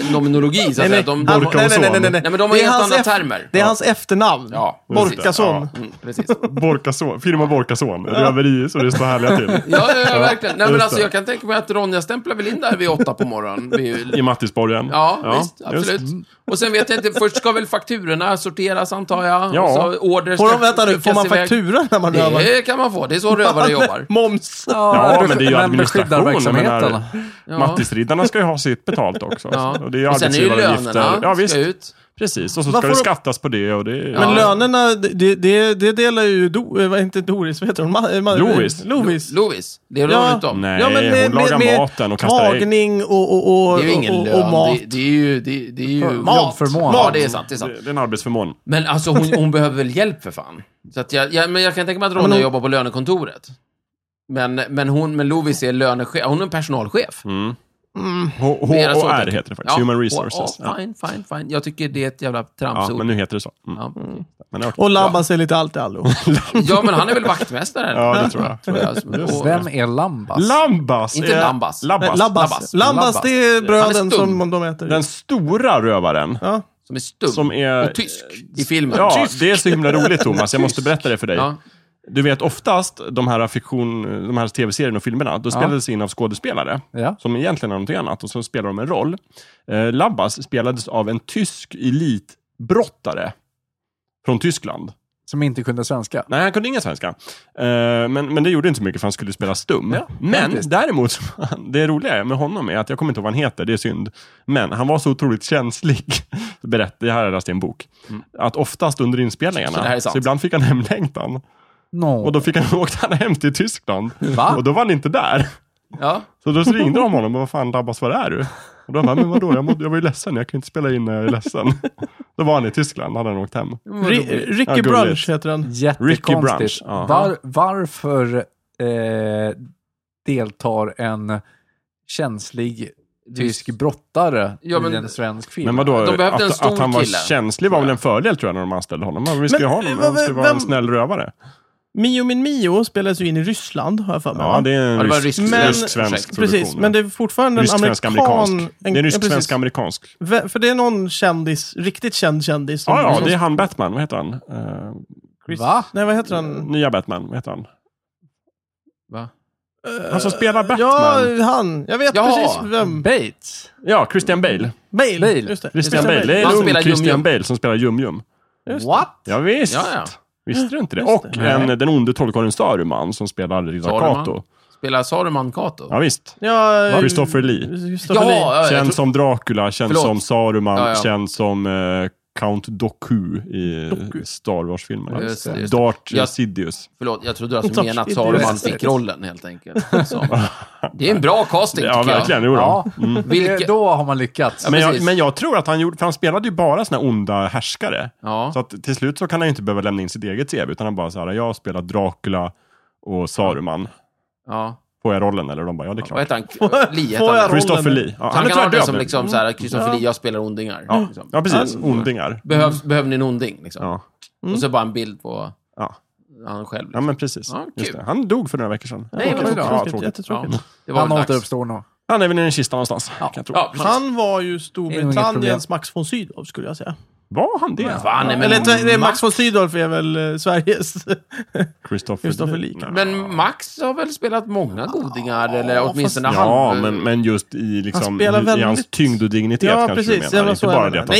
eh, nominologi, så att säga. De, Han- de, Borka och son. Nej, men de har Det är helt hans andra eft- termer. Det är Ja. hans efternamn. Ja, precis. Borkason. Mm, precis. Borkason, firma Borkason. Röveri, så det står härliga till. Ja, ja, ja, verkligen. Nej, men Just alltså, det. jag kan tänka mig att Ronja stämplar väl in där vid åtta på morgonen. Vid, I Mattisborgen. Ja, visst. just. Mm. Absolut. Och sen vet jag inte, först ska väl fakturorna sorteras antar jag? Ja. Och så order Får, ska de, vänta nu, får skickas man iväg. faktura när man rövar? Det kan man få. Det är så rövare jobbar. Moms. Ja, besk- men det är ju beskyddar administration. Jag verksamheten. menar, Mattisriddarna ska ju ha sitt betalt också. alltså. Ja. Och det är ju Och sen är ju arbetsgivaravgifter. lönerna Ja, visst. ska ut. Precis, och Vad så ska får det de- skattas på det och det... Men Ja. lönerna, det, det, det delar ju Do, eh, vad- inte Doris, vad heter hon? Ma- eh, Ma- Lovis. Lovis. Lovis, det är Ja. ja. om. Nej, Ja, men med- med- hon lagar med maten och kastar ägg. Tagning och, och, och, Det är ju ingen och, och, lön, och mat. Det, det är ju... Det, det är ju Jobb för månad. Ja, det är sant. Det är sant. Det det är en arbetsförmån. Men alltså hon, hon behöver väl hjälp för fan. Så att jag, jag, men jag kan tänka mig att Ronja hon- jobbar på lönekontoret. Men, men, hon, men Lovis är lönechef. Hon är en personalchef. Mm. H- Det är deras sak, HR jag heter det faktiskt. Ja, Human och- Resources. Ja, Ja, fine, fine, fine. Jag tycker det är ett jävla ja, tramsord. men nu heter det så. Mm. Ja. Men, ja, okej. Och Labbas är lite allt i allo. Ja, men han är väl vaktmästare? eller? Ja, det tror jag. Tror jag. Och- Vem är Lambas? Lambas! Inte är- Lambas. Labbas. Labbas. Labbas. Labbas. det är bröden Han är stum. som de äter. Den stora rövaren. Ja. Som är stum. Som är- Och tysk i filmen. Ja, Tysk. det är så himla roligt Thomas. Jag måste berätta det för dig. Ja. Du vet oftast de här fiktion, de här tv-serierna och filmerna, då spelades in av skådespelare. Ja. Som egentligen är någonting annat och så spelar de en roll. Eh, Labbas spelades av en tysk elitbrottare. Från Tyskland. Som inte kunde svenska. Nej, han kunde ingen svenska. Eh, men, men det gjorde inte så mycket för han skulle spela stum. Ja, men faktiskt. däremot, det roliga med honom är att jag kommer inte ihåg vad han heter, det är synd. Men han var så otroligt känslig. Berätt, det här har jag läst i en bok. Att oftast under Så Mm. det här inspelningarna, är så, sant. ibland fick han hemlängtan. No. Och då fick han åkte han hem till Tyskland. Va? Och då var han inte där. Ja. Så då så ringde de honom och vad fan Labbas, var är du? Och då bara, men vadå, jag, mådde, jag var ju ledsen, jag kunde inte spela in när jag är ledsen. Då var han i Tyskland, hade han åkt hem. Ri- Ja, Ricky gulligt. Brunch heter den. Ricky Jättekonstigt. Branch, ja. Var, varför eh, deltar en känslig tysk brottare Ja, men- i en svensk film? Men vadå, De behövde en att, stor att han var kille. känslig var väl en fördel tror jag när de anställde honom. Men vi ska Men, ju ha honom, vad- han ska ju vara vem- en snäll rövare. Mio min Mio spelas ju in i Ryssland, har jag för mig. Ja, va? det är en Ja, det var rysk, rysk- men, Men- rysk svensk Ursäkta, produktion. Precis, men det är fortfarande en Rysk-svensk amerikan... amerikansk. en- det är ja, en rysk precis. svensk amerikansk. Ve- För det är någon kändis, riktigt känd kändis. som- Ja, ja, som- det är han Batman, vad heter han? Eh, Va? Nej, vad heter han? nya Batman, vad heter han? Va? Han som spelar Batman. Ja, Eh, Ja, han. Jag vet Ja. precis vem. Bates? Christian Bale. Bale. Bale. Just det. Christian Bale. Bale, det är Han en spelar ung Christian Yum-Yum. Bale som spelar Yum Yum. What? Ja, visst. Ja, ja. Visste du inte det? Just Och det. En, den onde trollkarlen Saruman som spelar riddare Saruman. Kato. Spelar Saruman Kato? Ja, visst. Ja, eh, Christopher Lee. Christopher Lee. jag Känd tror- som Dracula, känd Förlåt. som Saruman, Ja, ja. känd som eh, Count Doku i Star Wars-filmerna. Just det, just det. Dart Ja. Sidious. Förlåt, jag trodde att du Tack, menade att det är Saruman rätt. fick rollen helt enkelt. Så. Det är en bra casting Ja, tycker verkligen. jag. Jo, Ja. då. Mm. Vilka- Det- Då har man lyckats. Ja, Men, jag, precis. men jag tror att han gjorde, för han spelade ju bara såna här onda härskare. Ja. Så att till slut så kan han ju inte behöva lämna in sitt eget CV, utan han bara så här, jag spelar Dracula och Saruman. Ja. Får jag rollen? Eller de bara, ja det är Vad klart. heter han? K- Lee heter får jag han. rollen? Christopher Lee. Ja, Så Han han är kan ha tyvärr det död som nu. liksom så här, Kristoffer Lee, jag spelar ondingar. Liksom. Ja, precis. Ondingar. Behövs, Behöver ni en onding? Liksom. Ja. Och så bara en bild på Ja. han själv. ja, men precis. Ja, Just kul. det. Han dog för några veckor sedan. Nej, vad Tråkigt. bra. Ja, Tråkigt, tråkigt. Ja, jättetråkigt. det var Han väl dags. återuppstår nog. Han är väl i en kista någonstans, kan jag tro. Ja, han... Han var ju Det är nog inget Storbritanniens Max von Sydow, skulle jag säga. Var han det? Fan, nej, men, Eller det är Max Max, von Sydow är väl eh, Sveriges... Christopher, Christopher Lee, kanske. men Max har väl spelat många godingar, eller åtminstone fast- han. Ja, men, men just i, liksom, Han spelar i, i väldigt- hans tyngd och dignitet Ja, kanske precis. Det du var menar. så Inte jag bara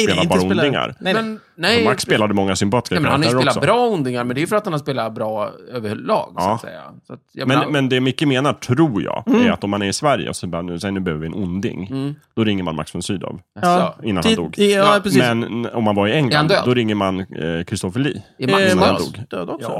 menade. det att han Nej, nej, inte spelar spelar- bara Nej, nej. ondingar. Men, nej, Max spelade många sympatiska nej, men han har ju karaktärer spelat också. bra ondingar, men det är ju för att han har spelat bra överlag, så Ja. att säga. Så att, jag menar- Men, men det Micke menar, tror jag, är att om man är i Sverige och så bara, nu, säg, nu behöver vi en onding. Då ringer man Max von Sydow alltså, innan han Tid- dog. Ja, Ja, precis. Men n- om man var i England, död? då ringer man eh, Christopher Lee. Är Max Eh, innan han död? Max dog. död också.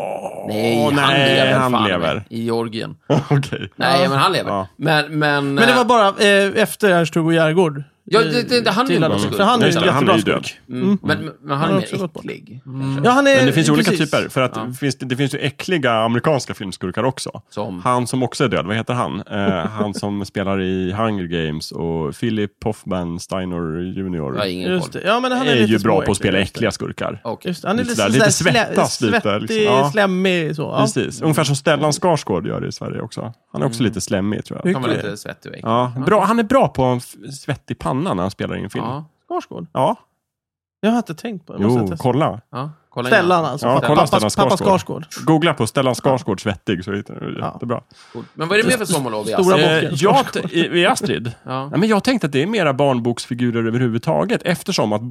Nej, Åh, han nej, lever. han fan med. lever. I Georgien. Okej. Nej, men han lever. Ja. Men, men... Men det var bara eh, efter Ernst-Hugo Järegård. eh, Ja, det- det- det- han är Till ju alla- bra. För han är Just ju det, han är jättebra ju död. skurk. Mm. Men, men, men han Han är har mer också gått bort. Mm. äcklig. Ja, han är, Men det finns ju olika Eh, precis. typer. För att det, finns, det finns ju äckliga amerikanska filmskurkar också. Som? Han som också är död, vad heter han? Eh, han som spelar i Hunger Games och Philip Hoffman Steiner Jr. Jag har ingen Just koll. det. Ja, men han är, är, lite ju bra på att småäcklig. spela äckliga skurkar. Okej. Just det, han är Lite lite, sådär, sådär lite slä- svettas lite, Svettig, liksom. Ja. slemmig så. Ja. Precis. Ungefär som Stellan Skarsgård gör i Sverige också. Han är också Mm. lite slemmig tror jag. Han var lite svettig och äcklig. Ja, bra. Han är bra på en f- svett i pannan när han spelar i en film. Ja. Ja, Skarsgård. Jag har inte tänkt på det. Måste jag Jo, testa. kolla. ja. Kolla in Stellan han. alltså. Ja, pappa, kolla pappa, Stellan pappa Skarsgård. Skarsgård. Googla på Stellan Skarsgård svettig så hittar du det. Jättebra. Cool. Men vad är det mer för sommarlov i Stora Astrid? bocken. Eh, jag, t- i, I Astrid? Ja. Nej, men jag tänkte att det är mera barnboksfigurer överhuvudtaget eftersom att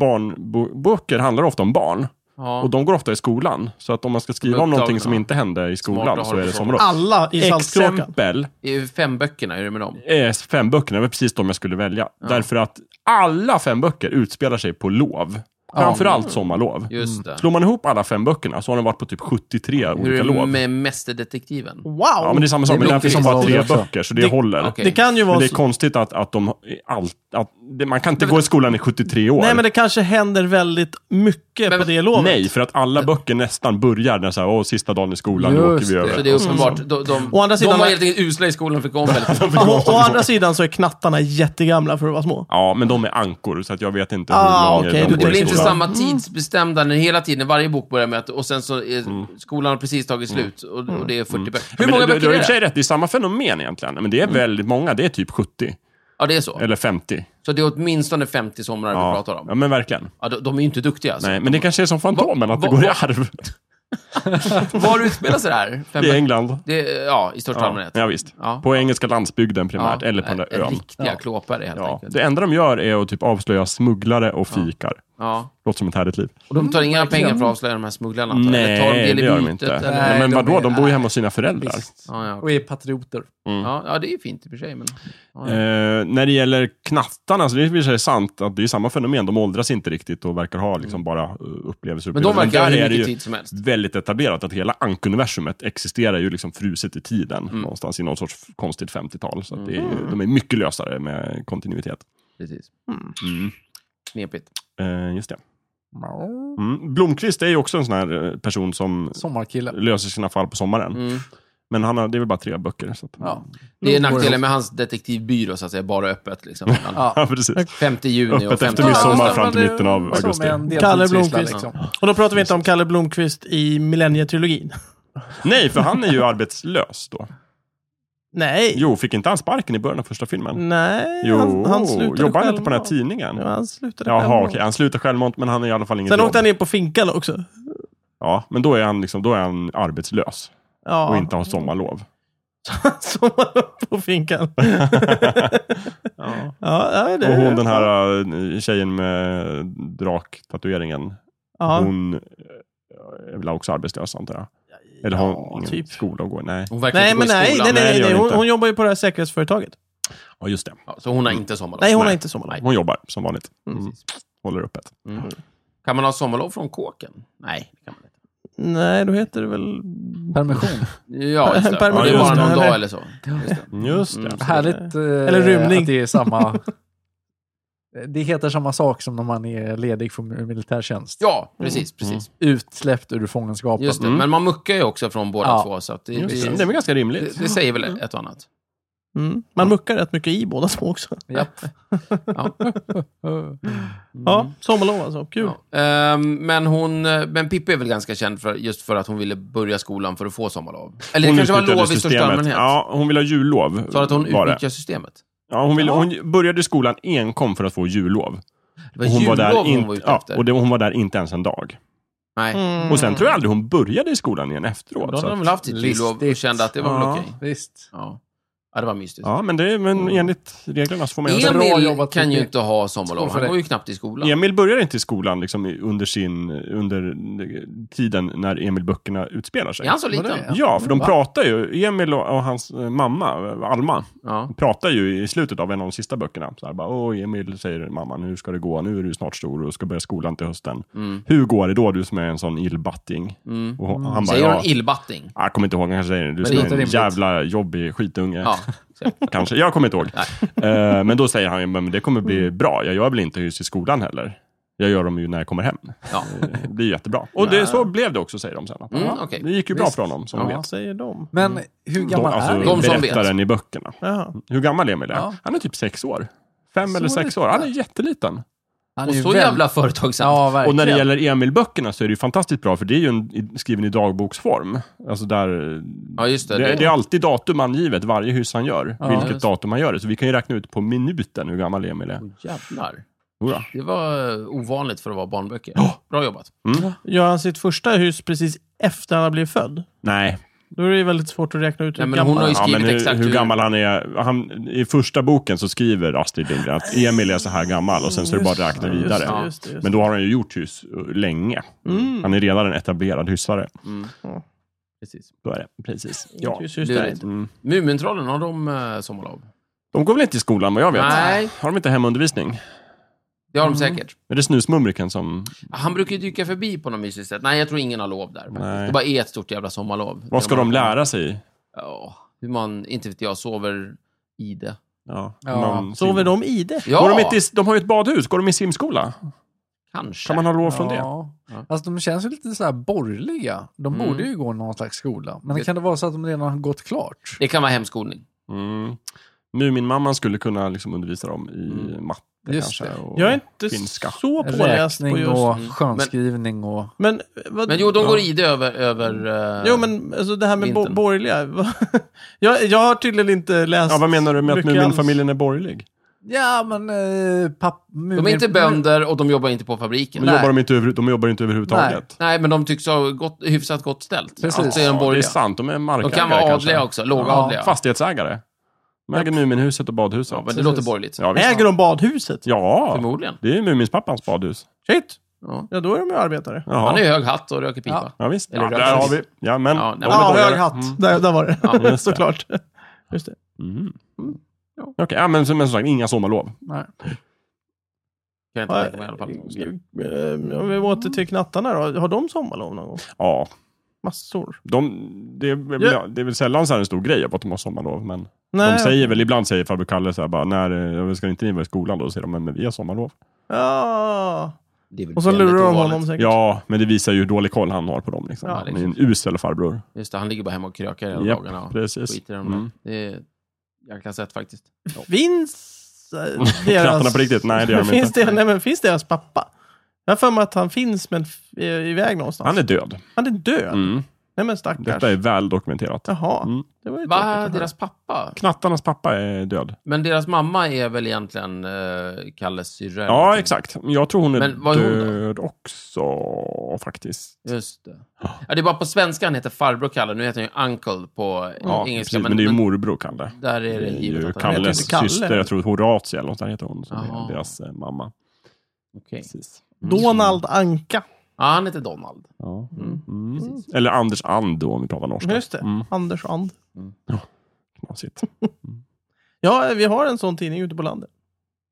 barnböcker handlar ofta om barn. Ja. Och de går ofta i skolan. Så att om man ska skriva De är om någonting som upptagna. inte hände i Smarta skolan har så är de det så. sommarlov. Alla i Saltkråkan. Exempel eh, I fem böckerna, hur är det med dem? är fem böckerna, det var precis de jag skulle välja. Därför att alla fem böcker utspelar sig på lov. Framförallt sommarlov. Just det. Slår man ihop alla fem böckerna så har den varit på typ 73 Hur olika är det lov. med Mästerdetektiven? Wow! Ja, men det är samma sak. Det Men blir där finns precis bara som tre det också. böcker, så det, Det- håller. okej. Det kan ju Men vara... det är konstigt att, att de... Allt, att, det, man kan inte gå i skolan i 73 år. Nej, men det kanske händer väldigt mycket Men- på det lovet. Nej, för att alla böcker nästan börjar när så här, åh, sista dagen i skolan, nu åker Just vi det. över. Så det är uppenbart. De, de, Å andra sidan- de var helt enkelt usla i skolan för kom väldigt Å, å andra sidan så är knattarna jättegamla för att vara små. Ja, men de är ankor, så att jag vet inte Ah, hur lång okej, de du går i Det blir inte skolan. samma tidsbestämda när hela tiden, varje bok börjar med att, och sen så är skolan har precis tagit slut och, och det är 40 böcker. Hur Men många du, böcker du har i är och för sig det? Mm. rätt, det är samma fenomen egentligen. Men det är väldigt många, det är typ 70. Ja, det är så. Eller 50. Så det är åtminstone 50 somrar vi pratar om. ja men verkligen. Ja, de, de är ju inte duktiga alltså. Nej, men det kanske är som Fantomen, att det va- går i va- arv. Var utspelar sig det här? Fem Det är böcker? England. det är, ja, i största Ja, allmänhet. ja, visst. Ja. På engelska landsbygden primärt, Ja, eller på den nej, där ön. Riktiga klåpare helt Ja. enkelt. Det enda de gör är att typ avslöja smugglare och fikar. Ja. Låter som ett härligt liv. Och de tar Mm, inga pengar för att avslöja de här smugglarna? antar jag? Eller tar de del i det gör de bytet, inte. eller? Nej, men de vadå, är- de bor ju hemma hos sina föräldrar. Visst. Ja, ja, Och är patrioter. Mm. Ja, ja, det är ju fint i och för sig. Men, ja, ja. Eh, när det gäller knattarna, så det är i och för sig sant att det är samma fenomen. De åldras inte riktigt och verkar ha liksom bara eh, upplevelser. Mm. men de verkar ha där hur är det mycket ju tid som helst. väldigt etablerat att hela ankuniversumet existerar ju liksom fruset i tiden Mm. någonstans i någon sorts konstigt 50-tal. Så att det är ju, de är mycket lösare med kontinuitet. Precis. Mm. Knepigt. Eh, just det. Mm. Blomqvist är ju också en sån här eh, person som Sommarkille. löser sina fall på sommaren. Mm. Men han har, det är väl bara tre böcker. Så att, Ja. Det är nackdelen med hans detektivbyrå, så att säga. Bara öppet. Liksom. ja, precis. Mellan 5 juni och Öppet 5 efter Ja, midsommar men fram till det- mitten av som augusti. en deltidssyssla, Kalle Blomqvist. liksom. Och då pratar vi inte om Kalle Blomqvist i Millennietrilogin. Nej, för han är ju arbetslös då. Nej. Jo, fick inte han sparken i början av första filmen? Mm, Nej, Jo, han, han slutade jobbar han inte på den självmant. här tidningen? Ja, han slutade Jaha, självmant. okej. Han slutar självmant, men han är i alla fall inget Sen jobb. åkte han in på finkan också. Ja, men då är han, liksom, då är han arbetslös Ja, och inte har sommarlov. som han upp på finkan. Ja. Ja, ja, det Och hon den här eh, tjejen med draktatueringen, Ja. hon eh, är väl också arbetslös antar jag? Eller har hon Ja, ingen typ. skola att gå i? Nej. Hon verkar Nej, inte men gå i nej, skolan. nej, Nej, det nej, gör nej. hon Hon, inte. hon jobbar ju på det här säkerhetsföretaget. Ja, just det. Ja, så hon har inte sommarlov? Nej, hon har Nej. inte sommarlov. Hon jobbar som vanligt. Mm. Mm. Håller öppet. Mm. Kan man ha sommarlov från kåken? Nej, det kan man inte. Nej, då heter det väl... Permission. Ja, just det. Permission. det är bara någon Ja, dag men- eller så. Just det. Just det. Mm. Härligt eh, Eller rymning. att det är samma... Det heter samma sak som när man är ledig från militärtjänst. Ja, Mm. precis. precis. Utsläppt ur fångenskapen. typ. Just det. Men man muckar ju också från båda Ja. två, så att det, Just det. det, Mm. det är det, väl ganska rimligt. det, säger väl ett och annat. Mm. Man muckar rätt mycket i båda små också. Japp. Ja. Mm. Ja, sommarlov alltså. Kul. Ja. Ehm, men, hon, eh, men Pippi är väl ganska känd för, just för att hon ville börja skolan för att få sommarlov. Eller det kanske var utnyttjade lov i största systemet. allmänhet. Ja, hon vill ha jullov. Så att hon var det. utnyttjar systemet. Ja, hon, ville, hon började i skolan enkom för att få jullov. Det var Och jullov hon var, där hon inte- var ute ja, efter. och det, hon var där inte ens en dag. Nej. Mm. Och sen tror jag aldrig hon började i skolan igen Då efteråt. hade så de att, väl haft sitt jullov och Listigt. kände att det var väl Ja. okej. Visst. Ja. ja, det var mystiskt. ja, men, det, men enligt reglerna så får man göra Bra Mm. Emil jobbat, kan ju Pippi. inte ha sommarlov. Skål för Han det. går ju knappt i skolan. så. Emil börjar inte i skolan liksom, i- under, sin, under tiden när Emil-böckerna utspelar sig. Är han så Var det liten? det? Ja, för de Va? pratar ju, Emil och, och hans eh, mamma, eh, Alma, Ja. pratar ju i slutet av en av de sista böckerna. Så här, bara, Åh, Emil, säger mamman, hur ska det gå? Nu är du snart stor och ska börja skolan till hösten. Mm. Hur går det då, du som är en sån illbatting? Mm. Och han bara, Säger ja, hon illbatting? jag kommer inte ihåg, han kanske säger det. Du det som är är en inte rimligt. jävla jobbig skitunge. Ja. Kanske, jag kommer inte ihåg. Eh, men då säger han, ju, men det kommer bli Mm. bra. Jag gör väl inte hus i skolan heller. Jag gör dem ju när jag kommer hem. Eh, ja. Det blir jättebra. Och det, så blev det också, säger de sen. Att, Mm, ja, okej. Det gick ju bra för honom, som Ja. vi vet. Vad säger de? Men hur De, gammal alltså, är De Emil? som vet. berättaren i böckerna. Jaha. Hur gammal Emil är? Ja. Han är typ sex år. Fem Så eller sex liten. år. Han är jätteliten. Han är Och ju så väl- jävla företagsam. Ja, verkligen. Och när det gäller Emil-böckerna så är det ju fantastiskt bra, för det är ju en, i- skriven i dagboksform. Alltså där... Ja, just det. Det, det är alltid datum angivet, varje hus han gör. Ja, vilket just. datum han gör det. Så vi kan ju räkna ut på minuten hur gammal Emil är. Åh, Jävlar. Jodå. Det var eh, ovanligt för att vara barnböcker. Bra jobbat. Gör han sitt första hus precis efter han har blivit född? Nej, Då är det ju väldigt svårt att räkna ut hur Nej, men gammal hon har ju han är. ja, men skrivit hur, exakt hur hur- gammal han är. Han, I första boken så skriver Astrid Lindgren att Emil är så här gammal och sen så är det bara att räkna Just vidare. det, just det, just det. Men då har han ju gjort hus uh, länge. Han är redan en etablerad husare. Mm. Ja. Precis. Då är det. Precis. Ja, Ja. just, just det här lurigt. inte. Mm. Mumintrollen, har de eh, sommarlov? De går väl inte i skolan vad jag vet? Nej. Har de inte hemundervisning? Det har de säkert. Är det Snusmumriken som... Han brukar ju dyka förbi på något mysigt sätt. Nej, jag tror ingen har lov där. faktiskt. Nej. Det bara är ett stort jävla sommarlov. Vad ska Där man- de lära sig? Ja, hur man, inte vet jag, sover i det. Ja, Ja. någon Sover sim- de i det? Ja, Går de, inte i, de har ju ett badhus, går de i simskola? kanske. Kan man ha lov från det? ja. Ja. Alltså de känns ju lite så här borgerliga. De Mm. borde ju gå någon slags skola. Men Det- kan det vara så att de redan har gått klart? Det kan vara hemskolning. Mm. Muminmamman skulle kunna liksom undervisa dem i Mm. matte Just kanske. det. Och... Jag är inte Finska. så påläst på Räkning just... och Mm. skönskrivning och... Men, vad... Men jo, de Ja. går i det över... över eh, Jo, men alltså det här med bo Vintern. borgerliga. va? jag, jag har tydligen inte läst... Ja, vad menar du med att mycket Muminfamiljen är borgerlig? Ja, men... Eh, papp, De är inte bönder och de jobbar inte på fabriken. Men Nej, jobbar de, inte över, de jobbar inte överhuvudtaget. Nej, men de tycks ha gott, hyfsat gott ställt. Precis. Så är de Ja, det är borgerliga. sant, de är De markägare kan vara kanske. adliga också, lågadliga. Ja, fastighetsägare. De äger Muminhuset och badhuset. Ja, Ja, men det Precis. låter borgerligt. visst. Äger de badhuset? ja Förmodligen. det är ju Muminpappans badhus. Shit! Ja. Ja, då är de ju arbetare. Jaha. Han är hög hatt och röker pipa. Ja, visst. Eller Ja, röd. där har vi. Ja, men. Ja, nej, de är Ja, borgare. hög hatt. Mm. Där, där var det. Ja, just det. Såklart. Just det. Mm. Ja. Okej, ja, men, som- men som sagt, inga sommarlov. Nej. Kan jag inte tänka mig i alla fall. Eh, Om vi åter till knattarna då. Har de sommarlov någon gång? Ja, Massor. de, det, är- Ja. ja, det är väl sällan så här en stor grej att de har sommarlov. Men de Nej. säger väl, ibland säger farbror Kalle så här bara, när, eh, ska inte ni vara i skolan då? Då säger de, men vi har sommarlov. Ja. Det är väl Och så väldigt lurar de ovanligt. honom säkert. Ja, men det visar ju hur dålig koll han har på dem. Liksom. Ja, han är liksom. en usel farbror. Just det, han ligger bara hemma och krökar hela Japp, dagarna. Och Precis. skiter i dem. Mm. Det är jäkla sett faktiskt. Finns eh, Knattarna på riktigt? Nej, det gör de finns inte. Det, nej, men finns deras pappa? Jag har för mig att han finns, men f- är iväg någonstans. Han är död. Han är död. Mm. Nej, men stackars. Detta är väl dokumenterat. Jaha. Mm. Det var ju tråkigt att Va? höra. Deras pappa? Knattarnas pappa är död. Men deras mamma är väl egentligen eh, Kalles syrra? eller Ja, någonting. exakt. Jag tror hon är Men vad är hon då? död också, faktiskt. Just det. Ja, det är bara på svenska han heter farbror Kalle. Nu heter han ju Uncle på eh, Ja, engelska. precis, men, det är ju morbror Kalle. där är det givet ju att han heter Kalles heter Kalle. syster, jag tror Horatia eller något där heter hon, som Jaha. är deras eh, mamma. Okej. Precis. Mm. Donald Anka. Ja, han heter Donald. Ja. Mm. Mm. Precis. Eller Anders And då, om vi pratar norska. Just det. Mm. Anders And. Knasigt. Ja, eh, vi har en sån tidning ute på landet.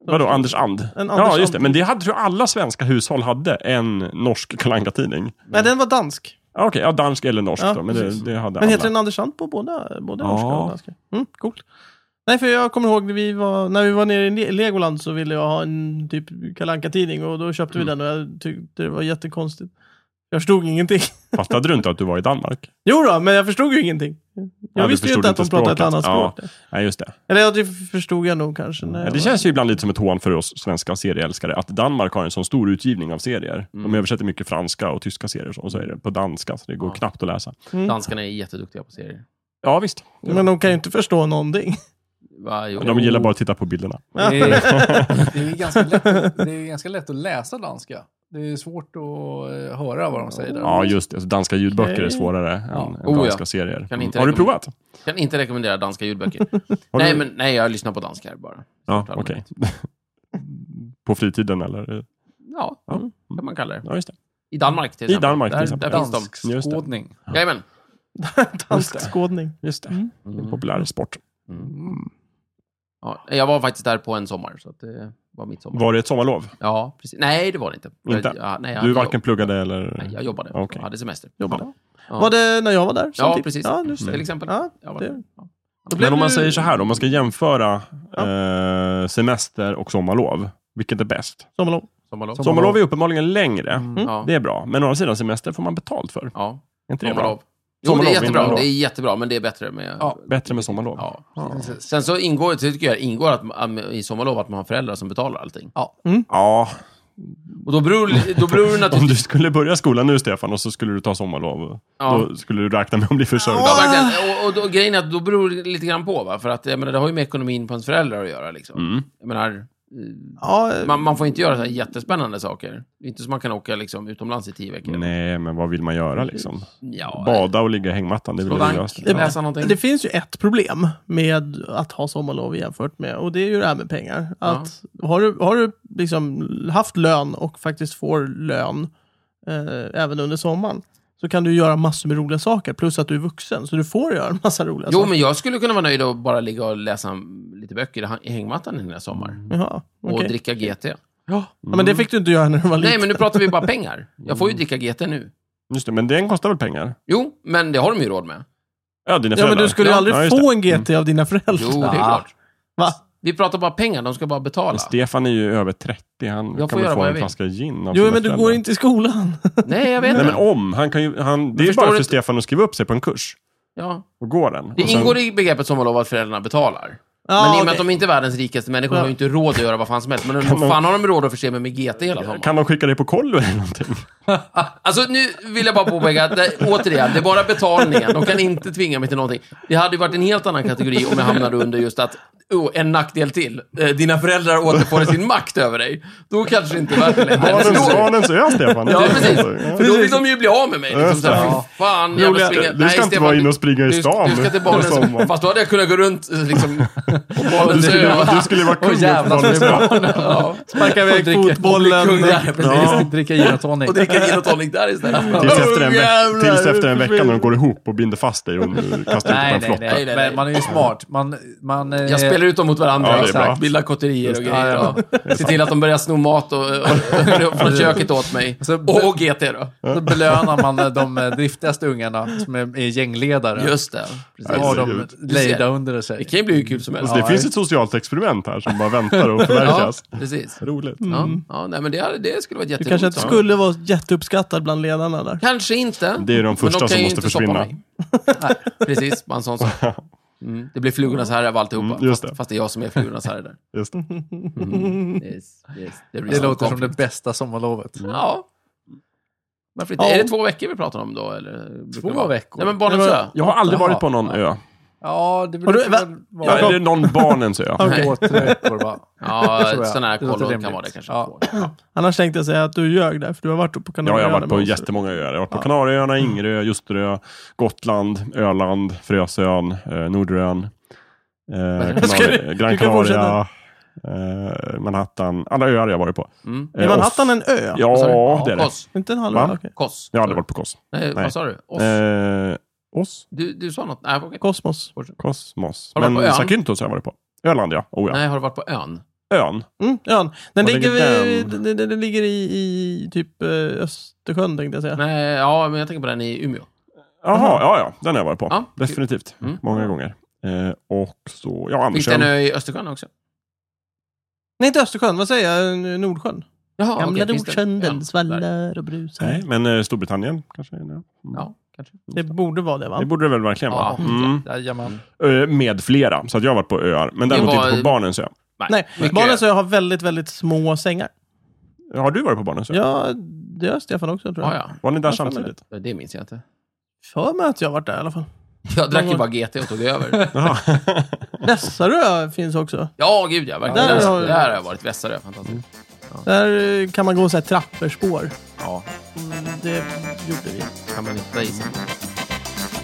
Vadå, Anders And? En Anders Ja, just det. And. Men det hade, tror jag alla svenska hushåll hade en norsk Kalle tidning Nej, den var dansk. Ja, Okej, ja, dansk eller norsk Ja, då, men precis. det, det hade Men alla. heter den Anders And på båda, både Ja. norska och danska? Mm, coolt. Nej, för jag kommer ihåg när vi var, när vi var nere i Le- Legoland så ville jag ha en typ Kalle Anka tidning och då köpte Mm. vi den och jag tyckte det var jättekonstigt. Jag förstod ingenting. Fattade du inte att du var i Danmark? Jo då, men jag förstod ju ingenting. Jag du visste ju förstod inte att de inte pratade ett språket. annat Ja. språk. där. Nej, just det. Eller ja, det förstod jag nog kanske. När Ja, jag det var- känns ju ibland lite som ett hån för oss svenska serieälskare att Danmark har en sån stor utgivning av serier. De översätter mycket franska och tyska serier och så, och så är det på danska, så det går Ja. knappt att läsa. Danskarna är jätteduktiga på serier. Ja, visst. Men de kan ju inte förstå någonting. Va, jo. De gillar bara att titta på bilderna. Det är, det, är ganska lätt, det är ganska lätt att läsa danska. Det är svårt att eh, höra vad de säger där. Ja, just det. Så danska ljudböcker Okej. är svårare än, Ja. än Oh, ja. danska serier. Mm. Kan inte har du rekommendera- provat? Kan inte rekommendera danska ljudböcker. Har nej, du... men, nej, jag lyssnar på danskar bara. Ja, Störtar okej. på fritiden eller? Ja, Ja. kan man kalla det. Ja, just det. I Danmark till I exempel. Danmark, till där, exempel. Där finns Dansk Just det. skådning. de. Jajamän. Dansk skådning. Just det. Mm. det är en populär sport. Ja, jag var faktiskt där på en sommar, så att det var mitt sommar. Var det ett sommarlov? Ja, precis. Nej, det var det inte. Inte? Jag, ja, nej, jag Du hade varken jobb. pluggade eller? Nej, jag jobbade. Okej. Jag hade semester. Jobbade. Ja. Var det när jag var där? Ja, samtidigt? precis. Mm. Liksom. Ja, just det. Till exempel. Ja, Jag var det- där. Ja. Då blev Men om man du- säger så här, om man ska jämföra eh, semester och sommarlov, vilket är bäst? Sommarlov. Sommarlov. Som- Sommarlov är uppenbarligen längre. Mm. Mm. Ja. Det är bra. Men å andra sidan, semester får man betalt för. ja. Är inte det bra? Sommarlov. Jo, det är Sommarlov, jättebra. vinterlov. Det är jättebra, men det är bättre med... Ja. Bättre med sommarlov. Ja. Precis. Sen så ingår, tycker jag, ingår att, man- i sommarlov att man har föräldrar som betalar allting. ja. Och då beror, då beror det Om naturligtvis... du skulle börja skolan nu, Stefan, och så skulle du ta sommarlov, Ja. då skulle du räkna med att bli försörjd. Ja, verkligen. Och, och då, grejen är att då beror det lite grann på, va? För att jag menar, det har ju med ekonomin på ens föräldrar att göra, liksom. Mm. Jag menar, Ja, man, man får inte göra så här jättespännande saker. Det är inte så man kan åka liksom, utomlands i tio veckor. Nej, men vad vill man göra liksom? Ja, Bada och ligga i hängmattan, det är slå väl det bank, roligaste. Ja. läsa någonting. Det finns ju ett problem med att ha sommarlov jämfört med, och det är ju det här med pengar. Att har du, har du liksom haft lön och faktiskt får lön eh, även under sommaren, så kan du göra massor med roliga saker. Plus att du är vuxen, så du får göra en massa roliga Jo, saker. men jag skulle kunna vara nöjd och bara ligga och läsa lite böcker i häng- i hängmattan den här sommaren. Jaha, Och okej. dricka GT. Ja. Ja, men det fick du inte göra när du var liten. Nej, men nu pratar vi bara pengar. Jag får ju dricka GT nu. Just det, men den kostar väl pengar? Jo, men det har de ju råd med. Ja, dina ja, men föräldrar. du skulle ju Ja, aldrig ja, just få en GT av dina föräldrar. Jo, det är Ja. klart. Va? Vi pratar bara pengar, de ska bara betala. Stefan är ju över 30. Han Jag får kan väl göra få vad jag en vill. flaska gin Jo, av sina men du föräldrar. går inte i skolan. Nej, jag vet Nej, men inte. om. Han kan ju, han, det är ju förstår bara för inte- Stefan att skriva upp sig på en kurs Ja. och gå den. Det Och sen- ingår i begreppet sommarlov att föräldrarna betalar. Ja, men i och med okej. att de inte är världens rikaste människor Ja. har ju inte råd att göra vad fan som helst. Men hur fan har de råd att förse mig med GT hela sommaren? Kan de skicka dig på kollo eller någonting? Alltså nu vill jag bara påpeka att det, återigen, det är bara betalningen. De kan inte tvinga mig till någonting. Det hade ju varit en helt annan kategori om jag hamnade under just att, oh, en nackdel till. Eh, dina föräldrar återfår sin makt över dig. Då kanske det inte är värt det längre. Men Barnens, då- barnens ö, Stefan. Ja, precis. Ja. För då vill de ju bli av med mig. Liksom, så här, "Fy fan, jävla Roliga- springa. Du ska inte vara inne och springa i du, stan Du ska till i sommar. barnens... Fast då hade jag kunnat gå runt eh, liksom, på barnens Du, ö. du skulle vara kung Åh, jävlar, på barnens det är bra. ö. Ja. Sparka iväg Dricker- fotbollen. Kung där, precis. Ja. Dricka gin och tonic. Och dricka gin och tonic där istället. Tills efter, Oh, en veck- jävlar, tills efter en hur vecka när de går ihop och binder fast dig och eh, kastar ut dig på Nej, en nej, flott. Nej, nej, nej, nej. Men man är ju smart. Man, man, eh, Jag spelar ut dem mot varandra, Ja, det är exakt. bra. bildar kotterier och grejer. Ja, ja. Och se till att de börjar sno mat och, och, och, från köket åt mig. Alltså, Så- Och, och GT då. Så belönar man eh, de eh, driftigaste ungarna som är, är gängledare. Just det. Precis. Så har de Herregud. lejda under sig. Det kan ju bli hur kul som helst. Alltså, det finns ett socialt experiment här som bara väntar och Ja, förverkligas. precis. Roligt. Ja, ja, nej, men det, hade- det skulle vara Du kanske jätteroligt. inte skulle vara jätteuppskattad bland ledarna där. Kanske inte. Det är de men första kan som ju måste inte stoppa försvinna. mig. Nej, precis, bara en sån sak. Mm. Det blir flugornas herre av alltihopa. Mm, just det. Fast, fast det är jag som är flugornas herre där. Just det. Yes, yes. Det, blir Det sån låter som det konflikt. bästa sommarlovet. Ja. Varför inte? Ja. Är det två veckor vi pratar om då? Eller? brukar Två det vara? veckor? Nej, men Barnens Det var- ö. Jag har aldrig Jaha. varit på någon ö. Ja, det Har du- brukar väl Ja, vara... är det någon barnens ö? Ja. Två, tre veckor bara. tror Ja, jag. sån här Det låter kollo kan rimligt. vara det kanske. Ja. Annars tänkte jag säga att du ljög där, för du har varit på Ja, jag har varit på Kanarieöarna. jättemånga öar. Jag har varit på Kanarieöarna, Mm. Ingerö, Ljusterö, Gotland, Öland, Frösön, eh, Nordön, eh, Ska Kanari- du- Gran du kan Canaria, eh, Manhattan. Alla öar har jag varit på. Mm. Eh, Är Manhattan en ö? Oss- Ja, det är det. Koss. Inte en Va? halvö? Okej. Koss. Jag har aldrig varit på Kos. Nej, Nej. vad sa du? Oss? Eh, Oss? Du, du sa något? Nej, okej. Kosmos. Kosmos. Har du Men varit på ön? Zakynthos har jag varit på. Öland, ja. Oh, ja. Nej, har du varit på ön? Ön. Mm, ön. Den Var ligger, ligger vid- den? den, den, den ligger i, i typ eh, Östersjön tänkte jag säga. Nej, ja, men jag tänker på den i Umeå. Jaha, ja, ja. Den har jag varit på. Ja, kul. Definitivt. Mm. Många gånger. Eh, och så, ja, Finns det en Andersön. ö i Östersjön också? Nej, inte Östersjön. Vad säger jag? N- Nordsjön. Jaha, Gamla okej, finns det- Nordsjön, ja, den där. svallar och brusar. Nej, men eh, Storbritannien kanske? är en ö. Mm. Ja, kanske. Det borde vara det, va? Det borde det väl verkligen vara? Ja. Mm. Jajamän. Ö, Med flera, så att jag har varit på öar. Men Det däremot var- inte på barnens ö. Nej, mycket- barnens ö har väldigt, väldigt små sängar. Har du varit på barnens ö? Ja, det har Stefan också tror jag. Ja, Var ni där Ja, samtidigt? ja. Det minns jag inte. För mig att jag har varit där i alla fall. Jag drack ju bara GT och tog över. Jaha. Vässarö finns också. Ja, gud ja. Verkligen. Där Där har har, vi- där har jag varit. Vässarö. Fantastiskt. Där eh, kan man gå så här trapperspår. Ja, Det gjorde vi. kan man hitta i sig.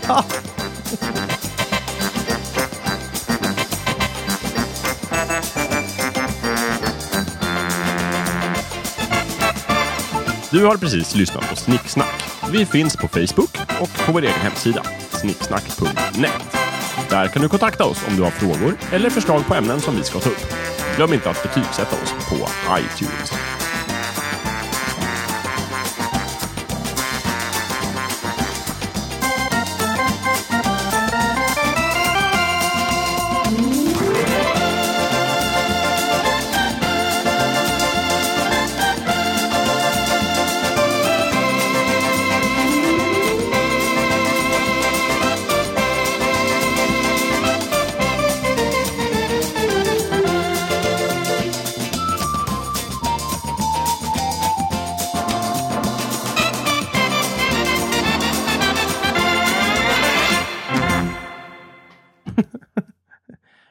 Ha! Du har precis lyssnat på Snicksnack. Vi finns på Facebook och på vår egen hemsida, snicksnack.net. Där kan du kontakta oss om du har frågor eller förslag på ämnen som vi ska ta upp. Glöm inte att betygsätta oss på iTunes.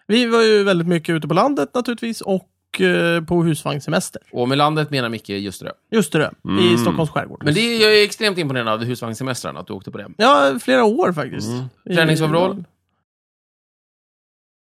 Vi var ju väldigt mycket ute på landet naturligtvis och eh, på husvagnssemester. Och med landet menar Micke just det. Just det, i Mm. Stockholms skärgård. Men det är, jag är extremt imponerad av husvagnssemestrarna, att du åkte på det. Ja, flera år faktiskt. I- Mm. Träningsoverall?